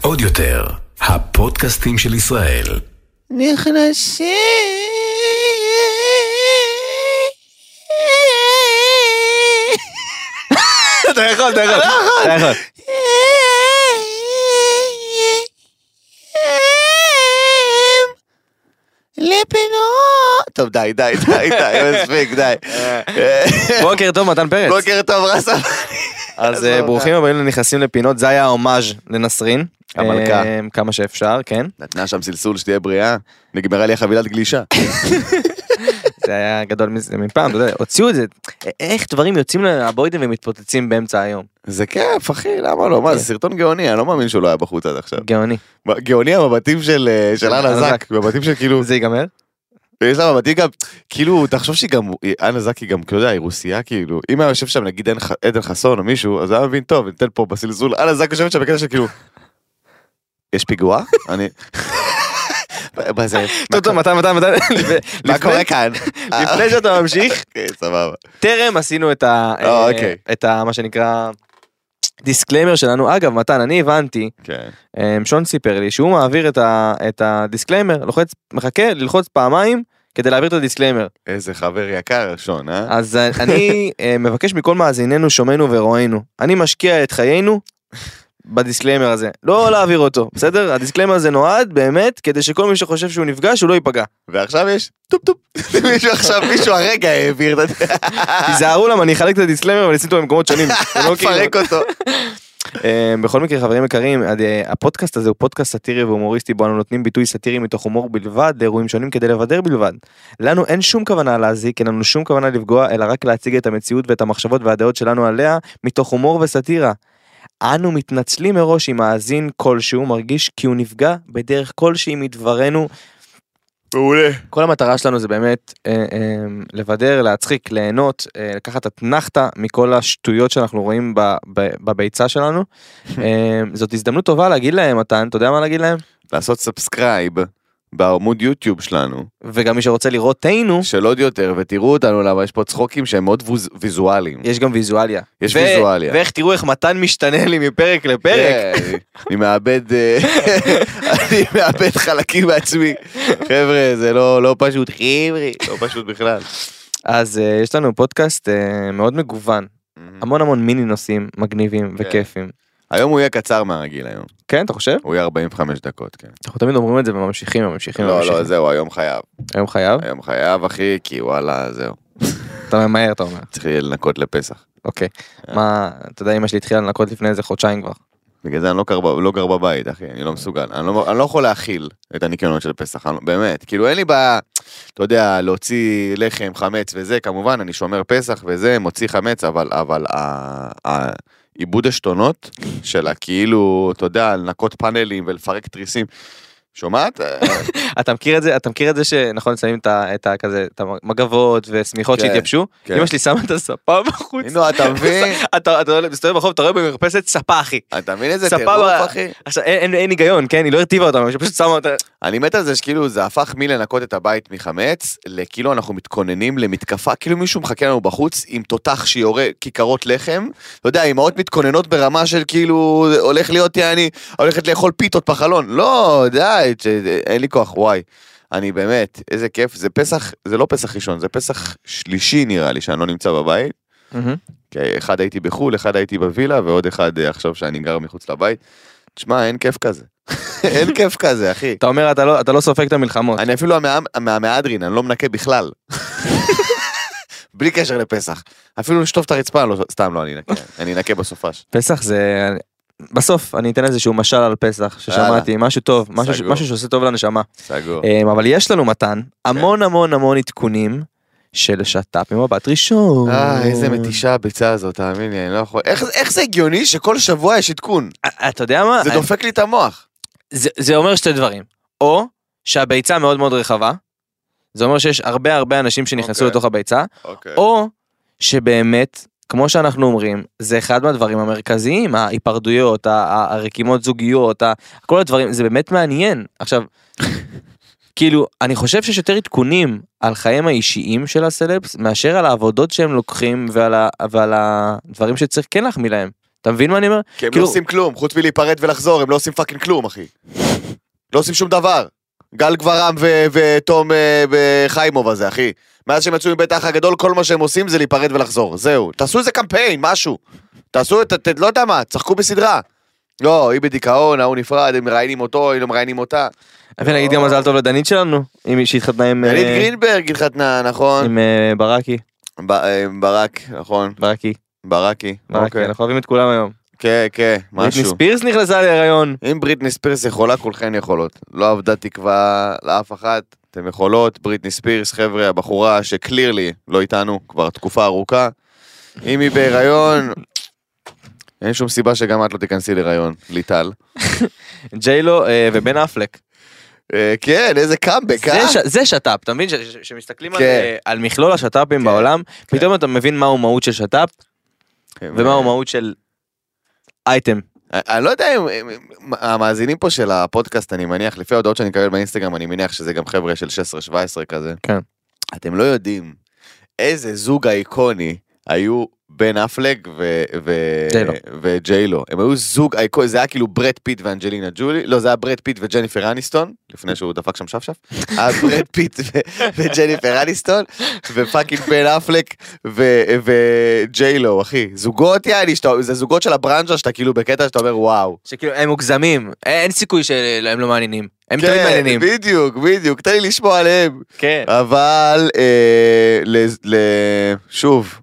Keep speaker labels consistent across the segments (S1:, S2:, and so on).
S1: עוד יותר, הפודקאסטים של ישראל.
S2: נכנסים.
S3: אתה יכול, אתה יכול. אתה יכול.
S2: לפינות.
S3: טוב, די, די, די, די, מספיק, די.
S4: בוקר טוב, מתן פרץ.
S3: בוקר טוב, רסה.
S4: כן, אז אה, ברוכים הבאים לנכנסים לפינות, זה היה ההומאז' לנסרין.
S3: המלכה.
S4: אה, כמה שאפשר, כן.
S3: נתנה שם סלסול, שתהיה בריאה. נגמרה לי החבילת גלישה.
S4: זה היה גדול מזה מפעם, אתה יודע, הוציאו את זה. א- איך דברים יוצאים לבוידם ומתפוצצים באמצע היום.
S3: זה כיף, אחי, למה לא? מה, זה סרטון גאוני, אני לא מאמין שהוא לא היה בחוץ עד עכשיו.
S4: גאוני.
S3: גאוני המבטים של אה, של אנה
S4: אנה
S3: זק, מבטים של כאילו,
S4: זה ייגמר?
S3: יש לה מבטים גם, כאילו, תחשוב שהיא גם, היא- אנה זק היא גם, אתה יודע, היא רוסיה, כאילו, אם היה יושב שם נגיד עדן ח- עדן חסון או מישהו, אז היה מבין, טוב, ניתן פה בסלזול, אנה זק יושבת שם בקטע של כאילו, יש פיגוע? אני... מה זה? מה
S4: טוב, טוב,
S3: קורה-
S4: מתן, מתן, מתן.
S3: מה קורה
S4: לפני-
S3: כאן?
S4: לפני שאתה ממשיך,
S3: אוקיי, סבבה.
S4: טרם עשינו את ה...
S3: אה,
S4: אה,
S3: אוקיי.
S4: את ה... מה שנקרא... דיסקליימר שלנו. אגב, מתן, אני הבנתי,
S3: כן.
S4: אה, שון סיפר לי, שהוא מעביר את ה- את הדיסקליימר, לוחץ, מחכה ללחוץ פעמיים כדי להעביר את הדיסקליימר.
S3: איזה חבר יקר, שון, אה?
S4: אז אה, אני אה, מבקש מכל מאזיננו, שומענו ורואינו, אני משקיע את חיינו בדיסקליימר הזה, לא להעביר אותו, בסדר? הדיסקליימר הזה נועד באמת כדי שכל מי שחושב שהוא נפגע, שהוא לא ייפגע.
S3: ועכשיו יש טופ טופ. מישהו עכשיו, מישהו הרגע העביר את זה.
S4: תיזהרו למה אני אחלק את הדיסקליימר ואני אשים אותו במקומות שונים. זה לא כאילו-
S3: פרק אותו.
S4: אה, בכל מקרה חברים יקרים עד, אה, הפודקאסט הזה הוא פודקאסט סאטירי והומוריסטי בו אנו נותנים ביטוי סאטירי מתוך הומור בלבד לאירועים שונים כדי לבדר בלבד. לנו אין שום כוונה להזיק אין לנו שום כוונה לפגוע אלא רק להציג את המציאות ואת המחשבות והדעות שלנו עליה מתוך הומור וסאטירה. אנו מתנצלים מראש אם מאזין כלשהו מרגיש כי הוא נפגע בדרך כלשהי מדברנו.
S3: מעולה.
S4: כל המטרה שלנו זה באמת אה, אה, לבדר, להצחיק, ליהנות, אה, לקחת אתנחתה מכל השטויות שאנחנו רואים ב, ב, בביצה שלנו. אה, זאת הזדמנות טובה להגיד להם, מתן, אתה יודע מה להגיד להם?
S3: לעשות סאבסקרייב בעמוד יוטיוב שלנו,
S4: וגם מי שרוצה לראות תינו,
S3: של עוד יותר, ותראו אותנו למה יש פה צחוקים שהם מאוד ווז- ויזואליים.
S4: יש גם ויזואליה.
S3: יש ויזואליה.
S4: ואיך תראו איך מתן משתנה לי מפרק לפרק.
S3: כן, אני מאבד, אה, אני מאבד חלקים מעצמי. חבר'ה, זה לא לא פשוט, חבר'ה, לא פשוט בכלל.
S4: אז אה, יש לנו פודקאסט אה, מאוד מגוון, המון המון מיני נושאים מגניבים
S3: כן.
S4: וכיפים.
S3: היום הוא יהיה קצר מהרגיל היום,
S4: כן, אתה חושב?
S3: הוא יהיה 45 דקות, כן.
S4: אנחנו תמיד אומרים את זה וממשיכים וממשיכים
S3: לא,
S4: וממשיכים.
S3: לא, זהו, היום חייב,
S4: היום חייב?
S3: היום חייב, אחי, כי וואלה, זהו.
S4: אתה ממהר, אתה אומר.
S3: צריך יהיה לנקות לפסח.
S4: אוקיי. מה, אתה יודע, אמא שלי התחילה לנקות לפני איזה חודשיים כבר.
S3: בגלל זה אני לא גר, ב- לא גר בבית, אחי, אני לא מסוגל. אני לא, אני לא יכול להכיל את הניקיונות של פסח, אני, לא- באמת. כאילו, אין לי בעיה, אתה יודע, להוציא לחם, חמץ וזה, כמובן, אני שומר פסח וזה, מוציא חמץ, אבל, אבל ה- ה- עיבוד עשתונות שלה, כאילו, אתה יודע, לנקות פאנלים ולפרק תריסים. שומעת? אה,
S4: אתה מכיר את זה, אתה מכיר את זה שנכון, שמים את ה- את ה- כזה, את המגבות ושמיכות
S3: כן,
S4: שהתייבשו?
S3: כן.
S4: אמא שלי שמה את הספה בחוץ.
S3: נו, אתה מבין?
S4: אתה אתה הולך- מסתובב ברחוב, אתה רואה במרפסת ספה, אחי.
S3: אתה מבין איזה
S4: סבבה.
S3: טירוף, אחי?
S4: עכשיו, אין- אין אין היגיון, כן? היא לא הרטיבה אותנו, היא פשוט שמה אותה.
S3: אני מת על זה שכאילו זה הפך מלנקות את הבית מחמץ, לכאילו אנחנו מתכוננים למתקפה, כאילו מישהו מחכה לנו בחוץ עם תותח שיורה כיכרות לחם. אתה יודע, אמהות מתכוננות ברמה של כאילו, הולך להיות יעני, הולכת לאכול פיתות בחלון. לא, די, ש- אין לי כוח, וואי. אני באמת, איזה כיף. זה פסח, זה לא פסח ראשון, זה פסח שלישי נראה לי, שאני לא נמצא בבית. כי אחד הייתי בחו"ל, אחד הייתי בווילה, ועוד אחד אה, עכשיו שאני גר מחוץ לבית. תשמע, אין כיף כזה. אין כיף כזה, אחי.
S4: אתה אומר, "אתה לא- אתה לא סופג את המלחמות.
S3: אני אפילו המאה- מהמהדרין, אני לא מנקה בכלל. בלי קשר לפסח. אפילו לשטוף את הרצפה, אני לא- סתם לא, אני אנקה. אני אנקה בסופש.
S4: פסח זה... בסוף אני אתן איזשהו משל על פסח ששמעתי, משהו טוב, משהו ש-
S3: סגור.
S4: משהו שעושה טוב לנשמה.
S3: סגור.
S4: אמ, אבל יש לנו מתן,
S3: כן.
S4: המון המון המון עדכונים של שת"פ ממבט ראשון.
S3: אה, איזה מתישה הביצה הזאת, תאמין לי, אני לא יכול... איך- איך זה הגיוני שכל שבוע יש עדכון?
S4: אה, אתה יודע מה?
S3: זה
S4: אני-
S3: דופק לי את המוח.
S4: זה- זה אומר שתי דברים. או שהביצה מאוד מאוד רחבה, זה אומר שיש הרבה הרבה אנשים שנכנסו
S3: אוקיי.
S4: לתוך הביצה,
S3: אוקיי.
S4: או שבאמת, כמו שאנחנו אומרים, זה אחד מהדברים המרכזיים, ההיפרדויות, ה- ה- הרקימות זוגיות, ה- כל הדברים, זה באמת מעניין. עכשיו, כאילו, אני חושב שיש יותר עדכונים על חייהם האישיים של הסלבס, מאשר על העבודות שהם לוקחים ועל, ה- ועל הדברים שצריך כן להחמיא להם. אתה מבין מה אני אומר?
S3: כי הם לא
S4: כאילו-
S3: עושים כלום, חוץ מלהיפרד ולחזור, הם לא עושים פאקינג כלום, אחי. לא עושים שום דבר. גל גברם ו- ותום אה, וחיימוב הזה, אחי. מאז שהם יצאו מבית האח הגדול, כל מה שהם עושים זה להיפרד ולחזור, זהו. תעשו איזה קמפיין, משהו. תעשו את, את- לא יודע מה, תשחקו בסדרה. לא, היא בדיכאון, ההוא נפרד, הם מראיינים אותו, הם לא מראיינים אותה. לא.
S4: ונגיד גם מזל טוב לדנית שלנו, עם- שהתחתנה עם... אה,
S3: דלית גרינברג התחתנה, נכון?
S4: עם אה, ברקי,
S3: ב- אה, ברק, נכון.
S4: ברקי,
S3: ברקי.
S4: ברקי, נכון.
S3: אוקיי.
S4: אנחנו אוהבים את כולם היום.
S3: כן, כן,
S4: בריטני
S3: משהו.
S4: ספירס נכנסה להיריון.
S3: אם בריטני ספירס יכולה, כולכן יכולות. לא אבדה תקווה לאף אחת, אתן יכולות. בריטני ספירס, חבר'ה, הבחורה שקלירלי לא איתנו כבר תקופה ארוכה. אם היא בהיריון, אין שום סיבה שגם את לא תיכנסי להיריון, ליטל.
S4: ג'יילו אה, ובן אפלק.
S3: אה, כן, איזה קאמבק, אה?
S4: זה ש- זה שת"פ, אתה מבין? ש- ש- שמסתכלים על,
S3: כן.
S4: אה, על מכלול השת"פים בעולם, פתאום אתה מבין מהו מהות של שת"פ
S3: כן,
S4: ומהו מהות של אייטם.
S3: אני- אני לא יודע אם אם- אם- המאזינים פה של הפודקאסט, אני מניח, לפי ההודעות שאני מקבל באינסטגרם, אני מניח שזה גם חבר'ה של 16-17 כזה.
S4: כן.
S3: אתם לא יודעים איזה זוג אייקוני היו בן אפלק ו- ו-
S4: ג'יילו.
S3: וג'יילו. הם היו זוג אייקוני, זה היה כאילו ברד פיט ואנג'לינה ג'ולי, לא, זה היה ברד פיט וג'ניפר אניסטון, לפני שהוא דפק שם שפשף. היה ברד פיט ו- וג'ניפר אניסטון, ופאקינג בן אפלק ו- וג'יילו, אחי. זוגות, יעני, שאתה- זה זוגות של הברנז'ה שאתה כאילו בקטע שאתה אומר, וואו.
S4: שכאילו הם מוגזמים, אה, אין סיכוי שהם לא מעניינים. הם תמיד מעניינים.
S3: כן, בדיוק, בדיוק, תן לי לשמוע עליהם.
S4: כן.
S3: אבל אה, ל, ל, שוב,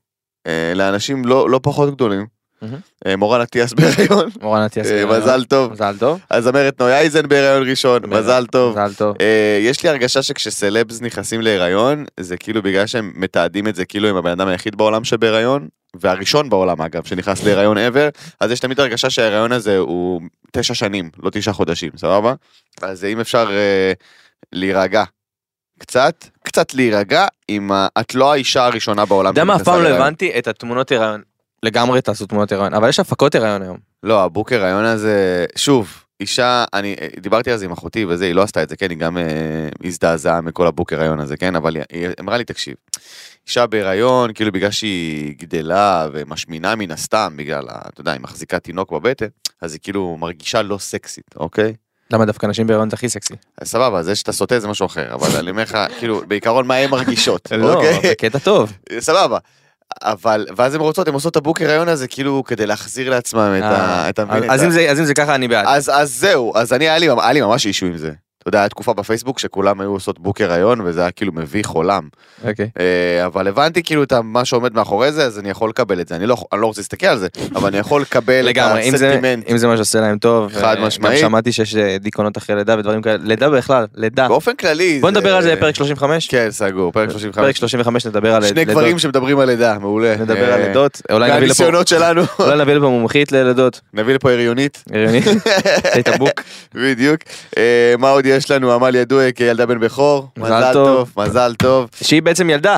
S3: אה, לאנשים לא, לא פחות גדולים,
S4: מהמם.
S3: אה, מורן אטיאס בהיריון,
S4: מורן אטיאס.
S3: אה,
S4: בהיריון.
S3: מזל טוב,
S4: מזל טוב.
S3: הזמרת נוי אייזן בהיריון ראשון, מזל טוב.
S4: מזל טוב.
S3: אה, יש לי הרגשה שכשסלבס נכנסים להיריון, זה כאילו בגלל שהם מתעדים את זה כאילו הם הבן אדם היחיד בעולם שבהיריון, והראשון בעולם אגב, שנכנס להיריון ever, אז יש תמיד הרגשה שההיריון הזה הוא תשע שנים, לא תשעה חודשים, סבבה? אז אם אפשר אה, להירגע קצת, קצת להירגע, אם ה- את לא האישה הראשונה בעולם.
S4: אתה יודע מה אף
S3: שנכנסה
S4: פעם לא
S3: להיריון.
S4: הבנתי את התמונות הריון. לגמרי תעשו תמונות הריון, אבל יש הפקות הריון היום.
S3: לא, הבוקר הרעיון הזה, שוב, אישה, אני אה, דיברתי על זה עם אחותי וזה, היא לא עשתה את זה, כן, היא גם אה, הזדעזעה מכל הבוקר הרעיון הזה, כן, אבל היא, היא אמרה לי, תקשיב, אישה בהיריון, כאילו בגלל שהיא גדלה ומשמינה מן הסתם, בגלל, ה- אתה יודע, היא מחזיקה תינוק בבטן, אז היא כאילו מרגישה לא סקסית, אוקיי?
S4: למה דווקא נשים בהיריון זה הכי סקסי?
S3: אז סבבה, זה שאתה סוטה זה משהו אחר, אבל אני אומר לך, כאילו, בעיקרון מה הן מרגישות,
S4: לא, כן.
S3: אוקיי?
S4: בקטע טוב.
S3: סבבה. אבל, ואז הן רוצות, הן עושות את הבוקר הרעיון הזה, כאילו, כדי להחזיר לעצמם את ה...
S4: אה,
S3: אתה מבין?
S4: אז-
S3: את
S4: אז
S3: ה-
S4: אם זה- אז אם זה ככה אני בעד.
S3: אז, אז זהו, אז אני, היה לי, היה לי ממש אישו עם זה. אתה יודע, היה תקופה בפייסבוק שכולם היו עושות בוקר היום, וזה היה כאילו מביך עולם.
S4: אוקיי.
S3: אה, אבל הבנתי כאילו את ה- מה שעומד מאחורי זה, אז אני יכול לקבל את זה. אני לא, אני לא רוצה להסתכל על זה, אבל אני יכול לקבל את
S4: לגמרי, אם זה,
S3: הסנטימנט.
S4: אם זה מה שעושה להם טוב.
S3: חד
S4: אה,
S3: משמעית.
S4: גם שמעתי שיש אה, דיכאונות אחרי לידה ודברים כאלה. לידה בכלל, לידה.
S3: באופן כללי...
S4: בוא
S3: זה-
S4: נדבר על זה בפרק 35.
S3: כן, סגור, פרק 35.
S4: פרק 35 נדבר על
S3: שני
S4: לידות.
S3: גברים שמדברים על לידה, מעולה.
S4: נדבר
S3: אה,
S4: על לידות. אולי נביא לפה-
S3: והניסיונות שלנו.
S4: אולי נביא לפה מומחית ללידות.
S3: נביא לפה הריונית.
S4: הריוני. היית בוק.
S3: בדיוק. אה, מה עוד יש לנו? עמל ידוע כילדה בן בכור.
S4: מזל טוב.
S3: מזל טוב.
S4: שהיא בעצם ילדה.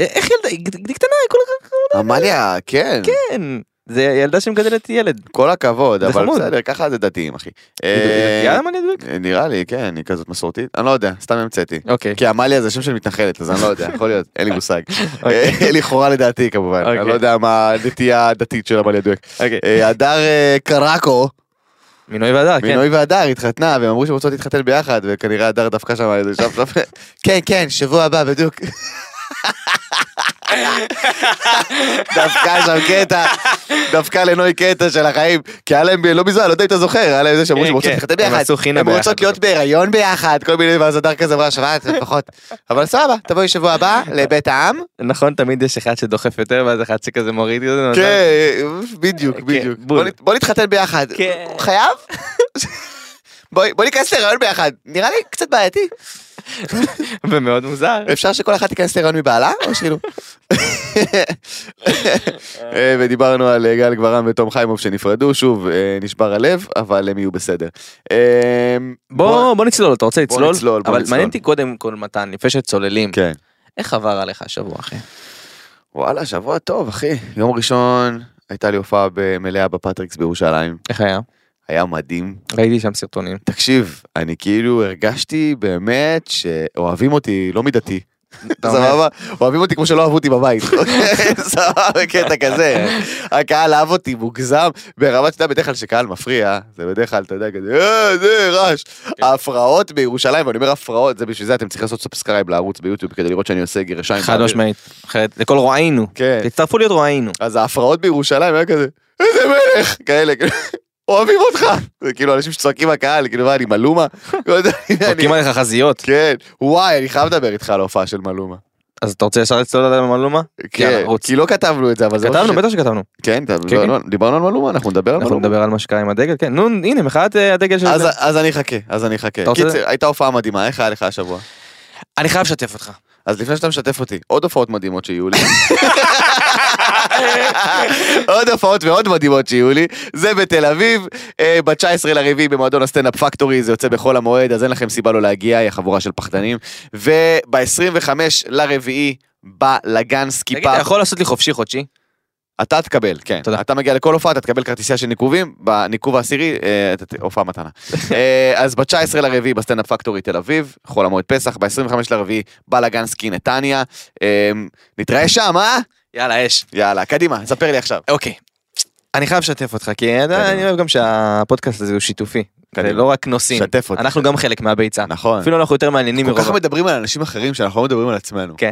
S4: אה, איך ילדה? היא גד- קטנה, היא כל כך...
S3: עמליה, כן.
S4: כן. זה ילדה שמגדלת ילד.
S3: כל הכבוד,
S4: זה
S3: אבל
S4: חמוד.
S3: בסדר, ככה זה דתיים, אחי.
S4: היא
S3: אה,
S4: דתייה, מה אני אדבר?
S3: נראה לי, כן, היא כזאת מסורתית. אני לא יודע, סתם המצאתי.
S4: אוקיי.
S3: כי עמליה זה שם של מתנחלת, אז אני לא יודע, יכול להיות, אין לי מושג.
S4: אוקיי.
S3: אה, לכאורה לדעתי, כמובן.
S4: אוקיי.
S3: אני לא יודע מה הנטייה הדתית של עמליה דואק.
S4: אוקיי.
S3: אה, הדר אה, קרקו,
S4: מינוי ועדה, כן.
S3: מינוי והדר, התחתנה, והם אמרו שהם רוצות להתחתן ביחד, וכנראה הדר דפקה שם איזה שם שם. כן, כן, שבוע הבא, בדיוק. דפקה שם קטע, דפקה לנוי קטע של החיים, כי היה להם, ב- לא מזמן, לא יודע אם אתה זוכר, היה להם זה שאמרו
S4: כן,
S3: שהם רוצות
S4: כן.
S3: להתחתן
S4: הם
S3: ביחד,
S4: עשו חינה
S3: הם
S4: ביחד.
S3: רוצות להיות בהיריון ביחד, כל מיני, ואז הדר כזה אמרה, שווה, לפחות. אבל סבבה, תבואי שבוע הבא לבית העם.
S4: נכון, תמיד יש אחד שדוחף יותר, ואז אחד שכזה מוריד כזה. נותן-
S3: כן, בדיוק, בדיוק.
S4: בול.
S3: בוא נת- בוא נתחתן ביחד.
S4: כן.
S3: חייב? בואי בואי ניכנס להיריון ביחד, נראה לי קצת בעייתי.
S4: ומאוד מוזר.
S3: אפשר שכל אחת תיכנס להיריון מבעלה? או שכאילו... אה, ודיברנו על אה, גל גברם ותום חיימוב שנפרדו, שוב, אה, נשבר הלב, אבל הם יהיו בסדר. אה,
S4: בוא בוא נצלול, אתה רוצה
S3: בוא
S4: לצלול?
S3: נצלול, בוא
S4: אבל
S3: נצלול.
S4: מעניין אותי קודם כל מתן, לפני שצוללים,
S3: כן.
S4: איך עבר עליך השבוע אחי?
S3: וואלה, שבוע טוב, אחי. יום ראשון הייתה לי הופעה מלאה בפטריקס בירושלים.
S4: איך היה?
S3: היה מדהים,
S4: ראיתי שם סרטונים.
S3: תקשיב, אני כאילו הרגשתי באמת שאוהבים אותי לא מידתי.
S4: אתה אומר,
S3: סבבה? אוהבים אותי כמו שלא אהבו אותי בבית. אוקיי, סבבה, קטע כזה. הקהל אהב אותי מוגזם, ברמת שאתה יודע, בדרך כלל שקהל מפריע, זה בדרך כלל, אתה יודע, כזה, אה, זה רעש.
S4: כן.
S3: ההפרעות בירושלים, ואני אומר הפרעות, זה בשביל זה אתם צריכים לעשות סאבסקרייב לערוץ ביוטיוב כדי לראות שאני עושה גרשיים.
S4: חד
S3: באוויר.
S4: משמעית. אחרת, לכל רועינו.
S3: כן.
S4: תצטרפו להיות רועינו.
S3: אז ההפרעות בירושלים היה כזה, איזה מלך, כאלה, כאילו, אוהבים אותך. זה כאילו אנשים שצועקים בקהל, כאילו, מה, אני מלומה? לא יודע, אני-
S4: דופקים עליך חזיות.
S3: כן, וואי, אני חייב לדבר איתך על ההופעה של מלומה.
S4: אז אתה רוצה ישר לצלול על המלומה?
S3: כן,
S4: יאללה, רוץ.
S3: כי לא כתבנו את זה, אבל זה... משהו
S4: כתבנו,
S3: ש-
S4: בטח שכתבנו.
S3: כן, אתה-
S4: כן,
S3: לא, לא, דיברנו על מלומה, אנחנו נדבר על
S4: אנחנו
S3: מלומה.
S4: נדבר על מה שקרה עם הדגל, כן. נו, הנה, מחאת אה, הדגל של...
S3: אז- אז אני אחכה, אז אני
S4: אתה
S3: אחכה.
S4: רוצה-
S3: קיצר, הייתה הופעה מדהימה, איך היה לך השבוע?
S4: אני חייב לשתף אותך.
S3: אז לפני שאתה משתף אותי, עוד הופעות מדהימות שיהיו לי. עוד הופעות מאוד מדהימות שיהיו לי, זה בתל אביב, אה, ב-19 לרביעי במועדון הסטנדאפ פקטורי, זה יוצא בחול המועד, אז אין לכם סיבה לא להגיע, היא החבורה של פחדנים. וב-25 לרביעי, בלגן
S4: תגיד, אתה
S3: סקיפה,
S4: יכול לעשות לי חופשי חודשי?
S3: אתה תקבל, כן.
S4: תודה.
S3: אתה מגיע לכל הופעה, אתה תקבל כרטיסייה של ניקובים, בניקוב העשירי, אה, אתה ת- הופעה מתנה. אה, אז ב-19 לרביעי בסטנדאפ פקטורי תל אביב, חול המועד פסח, ב-25 לרביעי בלאגנסקי נתניה. אה, נתראה שם, אה?
S4: יאללה, אש.
S3: יאללה, קדימה, ספר לי עכשיו.
S4: אוקיי. אני חייב לשתף אותך, כי אתה-
S3: קדימה.
S4: אני אוהב גם שהפודקאסט הזה הוא שיתופי. זה
S3: קדימה.
S4: לא רק נושאים.
S3: שתף אותי.
S4: אנחנו גם חלק מהביצה.
S3: נכון.
S4: אפילו אנחנו יותר מעניינים
S3: כל
S4: מרוב.
S3: כך מדברים על אנשים אחרים שאנחנו לא מדברים על עצמנו.
S4: כן.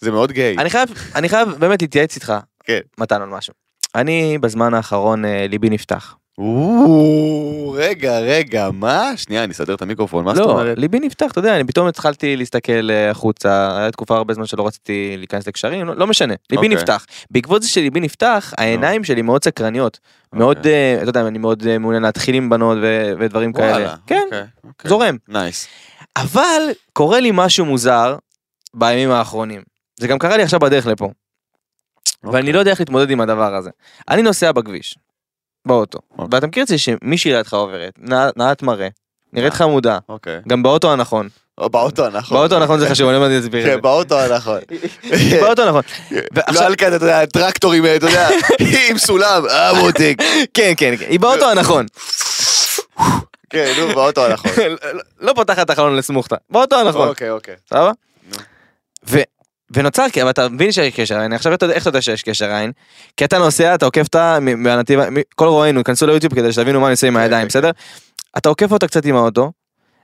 S3: זה מאוד גיי.
S4: אני חייב, אני חייב באמת להתייעץ איתך,
S3: כן.
S4: מתן, על משהו. אני בזמן האחרון אה, ליבי נפתח.
S3: או, רגע, רגע, מה? שנייה, אני אסדר את המיקרופון, מה זאת
S4: לא,
S3: אומרת?
S4: ליבי נפתח, אתה יודע, אני פתאום התחלתי להסתכל אה, החוצה, היה תקופה הרבה זמן שלא רציתי להיכנס לקשרים, לא, לא משנה, ליבי
S3: אוקיי.
S4: נפתח. בעקבות זה שליבי נפתח, העיניים שלי מאוד סקרניות. מאוד, אה, אתה יודע, אני מאוד אה, מעוניין להתחיל עם בנות ו- ודברים כאלה.
S3: אוקיי. וואלה,
S4: כן,
S3: אוקיי, אוקיי.
S4: זורם.
S3: נייס.
S4: אבל קורה לי משהו מוזר בימים האחרונים. זה גם קרה לי עכשיו בדרך לפה.
S3: אוקיי.
S4: ואני לא יודע איך להתמודד עם הדבר הזה. אני נוסע בכביש, באוטו,
S3: אוקיי.
S4: ואתה מכיר את זה שמישהי לידך עוברת, נע- נעת מראה, נראית חמודה,
S3: אוקיי.
S4: גם באוטו הנכון,
S3: או באוטו הנכון.
S4: באוטו הנכון זה חשוב, אני לא יודע להסביר
S3: נכון. כן,
S4: את זה,
S3: באוטו הנכון.
S4: באוטו הנכון, ועכשיו-
S3: לא על כזה, אתה יודע, טרקטורים, אתה יודע, עם סולם, אה מותק.
S4: כן כן, כן, היא
S3: לא-
S4: באוטו הנכון,
S3: כן, נו, באוטו הנכון.
S4: לא פותחת את החלון לסמוכתה, באוטו הנכון,
S3: אוקיי, אוקיי.
S4: סבבה?
S3: נו.
S4: ו- ונוצר, כי- אבל אתה מבין שיש קשר עין, עכשיו אתה יודע- איך אתה יודע שיש קשר עין? כי אתה נוסע, אתה עוקף את ה... מ- מהנתיב, ה- מ- כל רואינו, כנסו ליוטיוב כדי שתבינו מה אני עושה עם
S3: כן,
S4: הידיים,
S3: כן,
S4: בסדר? אתה עוקף אותו קצת עם האוטו,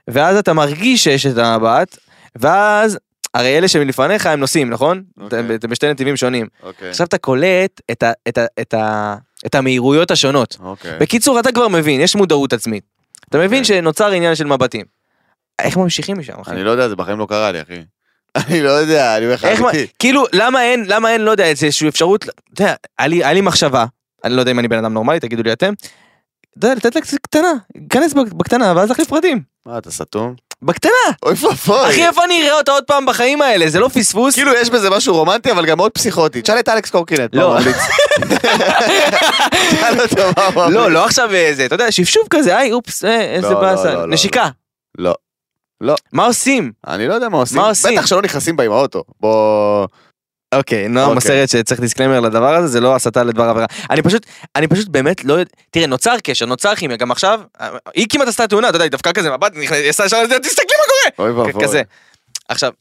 S4: ואז אתה מרגיש שיש את המבט, ואז, הרי אלה שמלפניך הם נוסעים, נכון?
S3: אוקיי.
S4: אתם- אתם בשתי נתיבים שונים.
S3: אוקיי.
S4: עכשיו אתה קולט את ה- את ה- את ה- את המהירויות השונות.
S3: אוקיי.
S4: בקיצור, אתה כבר מבין, יש מודעות עצמית. אתה מבין
S3: כן.
S4: שנוצר עניין של מבטים. איך ממשיכים משם, אחי?
S3: אני לא יודע, זה בחיים לא קרה לי, אחי. אני לא יודע, אני אומר לך,
S4: איך מה,
S3: אמיתי.
S4: כאילו למה אין למה אין לא יודע איזושהי אפשרות אתה יודע, היה לי- היה לי מחשבה אני לא יודע אם אני בן אדם נורמלי תגידו לי אתם. אתה יודע לתת לה קצת קטנה כנס בק- בקטנה ואז להחליף פרטים
S3: מה, אתה סתום?
S4: בקטנה
S3: אוי ואבוי.
S4: אחי איפה אני אראה אותה עוד פעם בחיים האלה זה לא פספוס
S3: כאילו יש בזה משהו רומנטי, אבל גם מאוד פסיכוטי. תשאל את אלכס קורקינט.
S4: לא.
S3: מה הוא ממליץ. תשאל אותו מה הוא
S4: לא
S3: ממליץ.
S4: לא עכשיו אה, זה אתה יודע שפשוף כזה היי אופס אה, איזה
S3: לא,
S4: באסה
S3: לא, לא, לא,
S4: נשיקה
S3: לא. לא.
S4: מה עושים
S3: אני לא יודע מה עושים.
S4: מה עושים?
S3: בטח שלא נכנסים בה עם האוטו. בוא...
S4: אוקיי נועם
S3: אוקיי.
S4: מסרט שצריך דיסקליימר לדבר הזה זה לא הסתה לדבר עבירה אני פשוט אני פשוט באמת לא יודע תראה נוצר קשר נוצר כימיה גם עכשיו אה, היא כמעט עשתה תאונה אתה יודע היא דפקה כזה מבט נכנס- יצאה ישר לזה, תסתכלי מה קורה
S3: אוי ואבוי.
S4: כזה. עכשיו,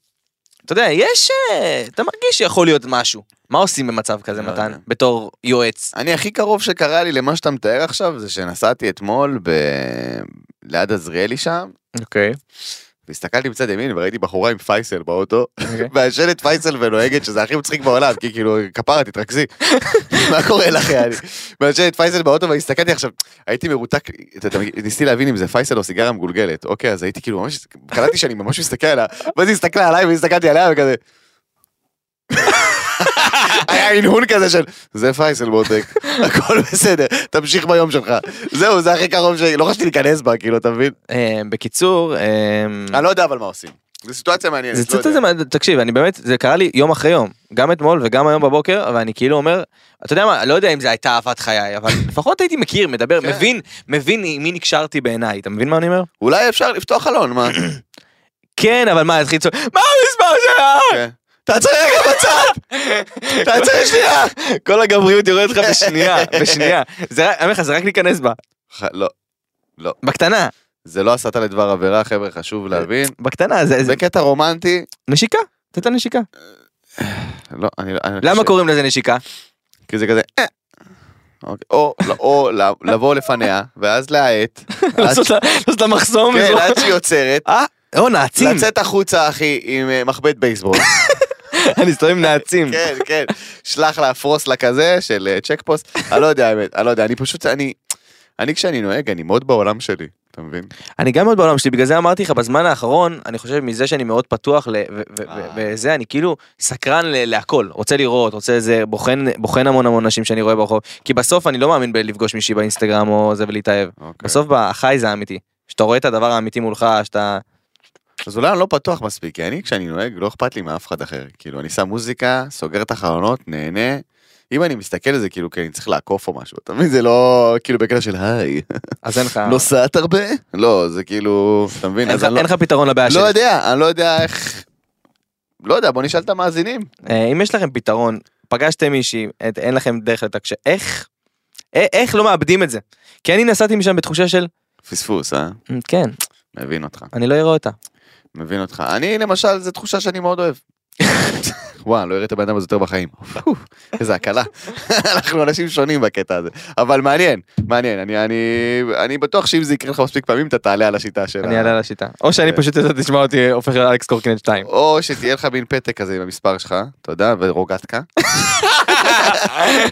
S4: אתה יודע, יש... אה, אתה מרגיש שיכול להיות משהו. מה עושים במצב כזה,
S3: לא
S4: מתן?
S3: יודע.
S4: בתור יועץ.
S3: אני הכי קרוב שקרה לי למה שאתה מתאר עכשיו זה שנסעתי אתמול ב... ליד עזריאלי שם
S4: אוקיי.
S3: והסתכלתי מצד ימין וראיתי בחורה עם פייסל באוטו
S4: אוקיי.
S3: מעשנת פייסל ונוהגת שזה הכי מצחיק בעולם כי כאילו כפרה תתרכזי מה קורה לך יעני מעשנת פייסל באוטו והסתכלתי עכשיו הייתי מרותק אתה- אתה- ניסיתי להבין אם זה פייסל או סיגריה מגולגלת אוקיי אז הייתי כאילו ממש קלטתי שאני ממש מסתכל עליה ואז היא הסתכלה עליי והסתכלתי עליה וכזה. היה הנהון כזה של זה פייסל מותק הכל בסדר תמשיך ביום שלך זהו זה הכי קרוב ש... לא חשבתי להיכנס בה כאילו אתה
S4: Mm.
S3: מבין
S4: בקיצור, אה,
S3: אני לא יודע אבל מה עושים. זו סיטואציה מעניינת.
S4: זה
S3: לא
S4: קצת
S3: יודע.
S4: איזה... מה- תקשיב, אני באמת, זה קרה לי יום אחרי יום. גם אתמול וגם היום בבוקר, ואני כאילו אומר, אתה יודע מה, לא יודע אם זו הייתה אהבת חיי, אבל לפחות הייתי מכיר, מדבר,
S3: כן.
S4: מבין, מבין עם מי נקשרתי בעיניי. אתה מבין מה אני אומר?
S3: אולי אפשר לפתוח חלון, מה?
S4: כן, אבל מה, התחיל לצעוק, מה המספר שלך?
S3: כן. תעצר רגע בצד! תעצר שנייה!
S4: כל הגבריות יורדת לך בשנייה, בשנייה. זה רק- אני אומר לך, זה רק להיכנס בה.
S3: ח- לא,
S4: בקטנה,
S3: זה לא הסתה לדבר עבירה, חבר'ה, חשוב להבין.
S4: בקטנה, זה... זה-
S3: זה קטע רומנטי,
S4: נשיקה. לתת לה נשיקה.
S3: לא, אני לא... אני-
S4: למה
S3: אה, ש-
S4: קוראים לזה נשיקה?
S3: כי זה כזה... "אה". אוקיי, או- או לב- לבוא לפניה, ואז להאט. עד
S4: לעשות לה- לעשות לה מחסום?
S3: כן,
S4: לזרוק-
S3: עד שהיא עוצרת.
S4: אה, או נעצים.
S3: לצאת החוצה, אחי, עם אה, מחבט בייסבול.
S4: אני מסתובב עם נעצים.
S3: כן, כן. שלח לה פרוסלה כזה של אה, צ'ק פוסט. אני לא יודע, האמת, אני לא יודע, אני פשוט, אני... אני כשאני נוהג, אני מאוד בעולם שלי, אתה מבין?
S4: אני גם מאוד בעולם שלי, בגלל זה אמרתי לך, בזמן האחרון, אני חושב מזה שאני מאוד פתוח ל- ו- ו- ו-
S3: אה.
S4: וזה, אני כאילו סקרן ל- להכל, רוצה לראות, רוצה איזה, בוחן, בוחן המון המון אנשים שאני רואה ברחוב, כי בסוף אני לא מאמין בלפגוש מישהי באינסטגרם או זה ולהתאהב.
S3: אוקיי.
S4: בסוף בחי זה האמיתי, שאתה רואה את הדבר האמיתי מולך, שאתה...
S3: אז אולי אני לא פתוח מספיק, כי אני כשאני נוהג, לא אכפת לי מאף אחד אחר. כאילו, אני שם מוזיקה, סוגר את החלונות, נהנה. אם אני מסתכל על זה, כאילו, כי אני צריך לעקוף או משהו, אתה מבין? זה לא, כאילו, בקטע של היי,
S4: אז אין לך...
S3: נוסעת הרבה? לא, זה כאילו, אתה מבין?
S4: אה." אין
S3: אז
S4: לך-
S3: אני לא-
S4: אין לך פתרון לבעיה
S3: לא
S4: שלי.
S3: יודע, אני לא יודע איך... לא יודע, בוא נשאל את המאזינים.
S4: אה, אם יש לכם פתרון, פגשתם מישהי, את- אין לכם דרך לתקשר, איך? אה, איך לא מאבדים את זה? כי אני נסעתי משם בתחושה של,
S3: פספוס, אה?
S4: "מ, כן,
S3: מבין אותך.
S4: אני לא אראה אותה.
S3: מבין אותך. אני למשל, זו תחושה שאני מאוד אוהב. וואי, לא אראה את הבן אדם הזה יותר בחיים. פו, איזה הקלה. אנחנו אנשים שונים בקטע הזה. אבל מעניין, מעניין. אני, אני, אני בטוח שאם זה יקרה לך מספיק פעמים, אתה תעלה על השיטה שלה.
S4: אני אעלה על השיטה. או שאני
S3: אה.
S4: פשוט אתה תשמע אותי הופך לאלכס קורקינט 2.
S3: או שתהיה לך מין פתק כזה עם המספר שלך, תודה, ורוגטקה.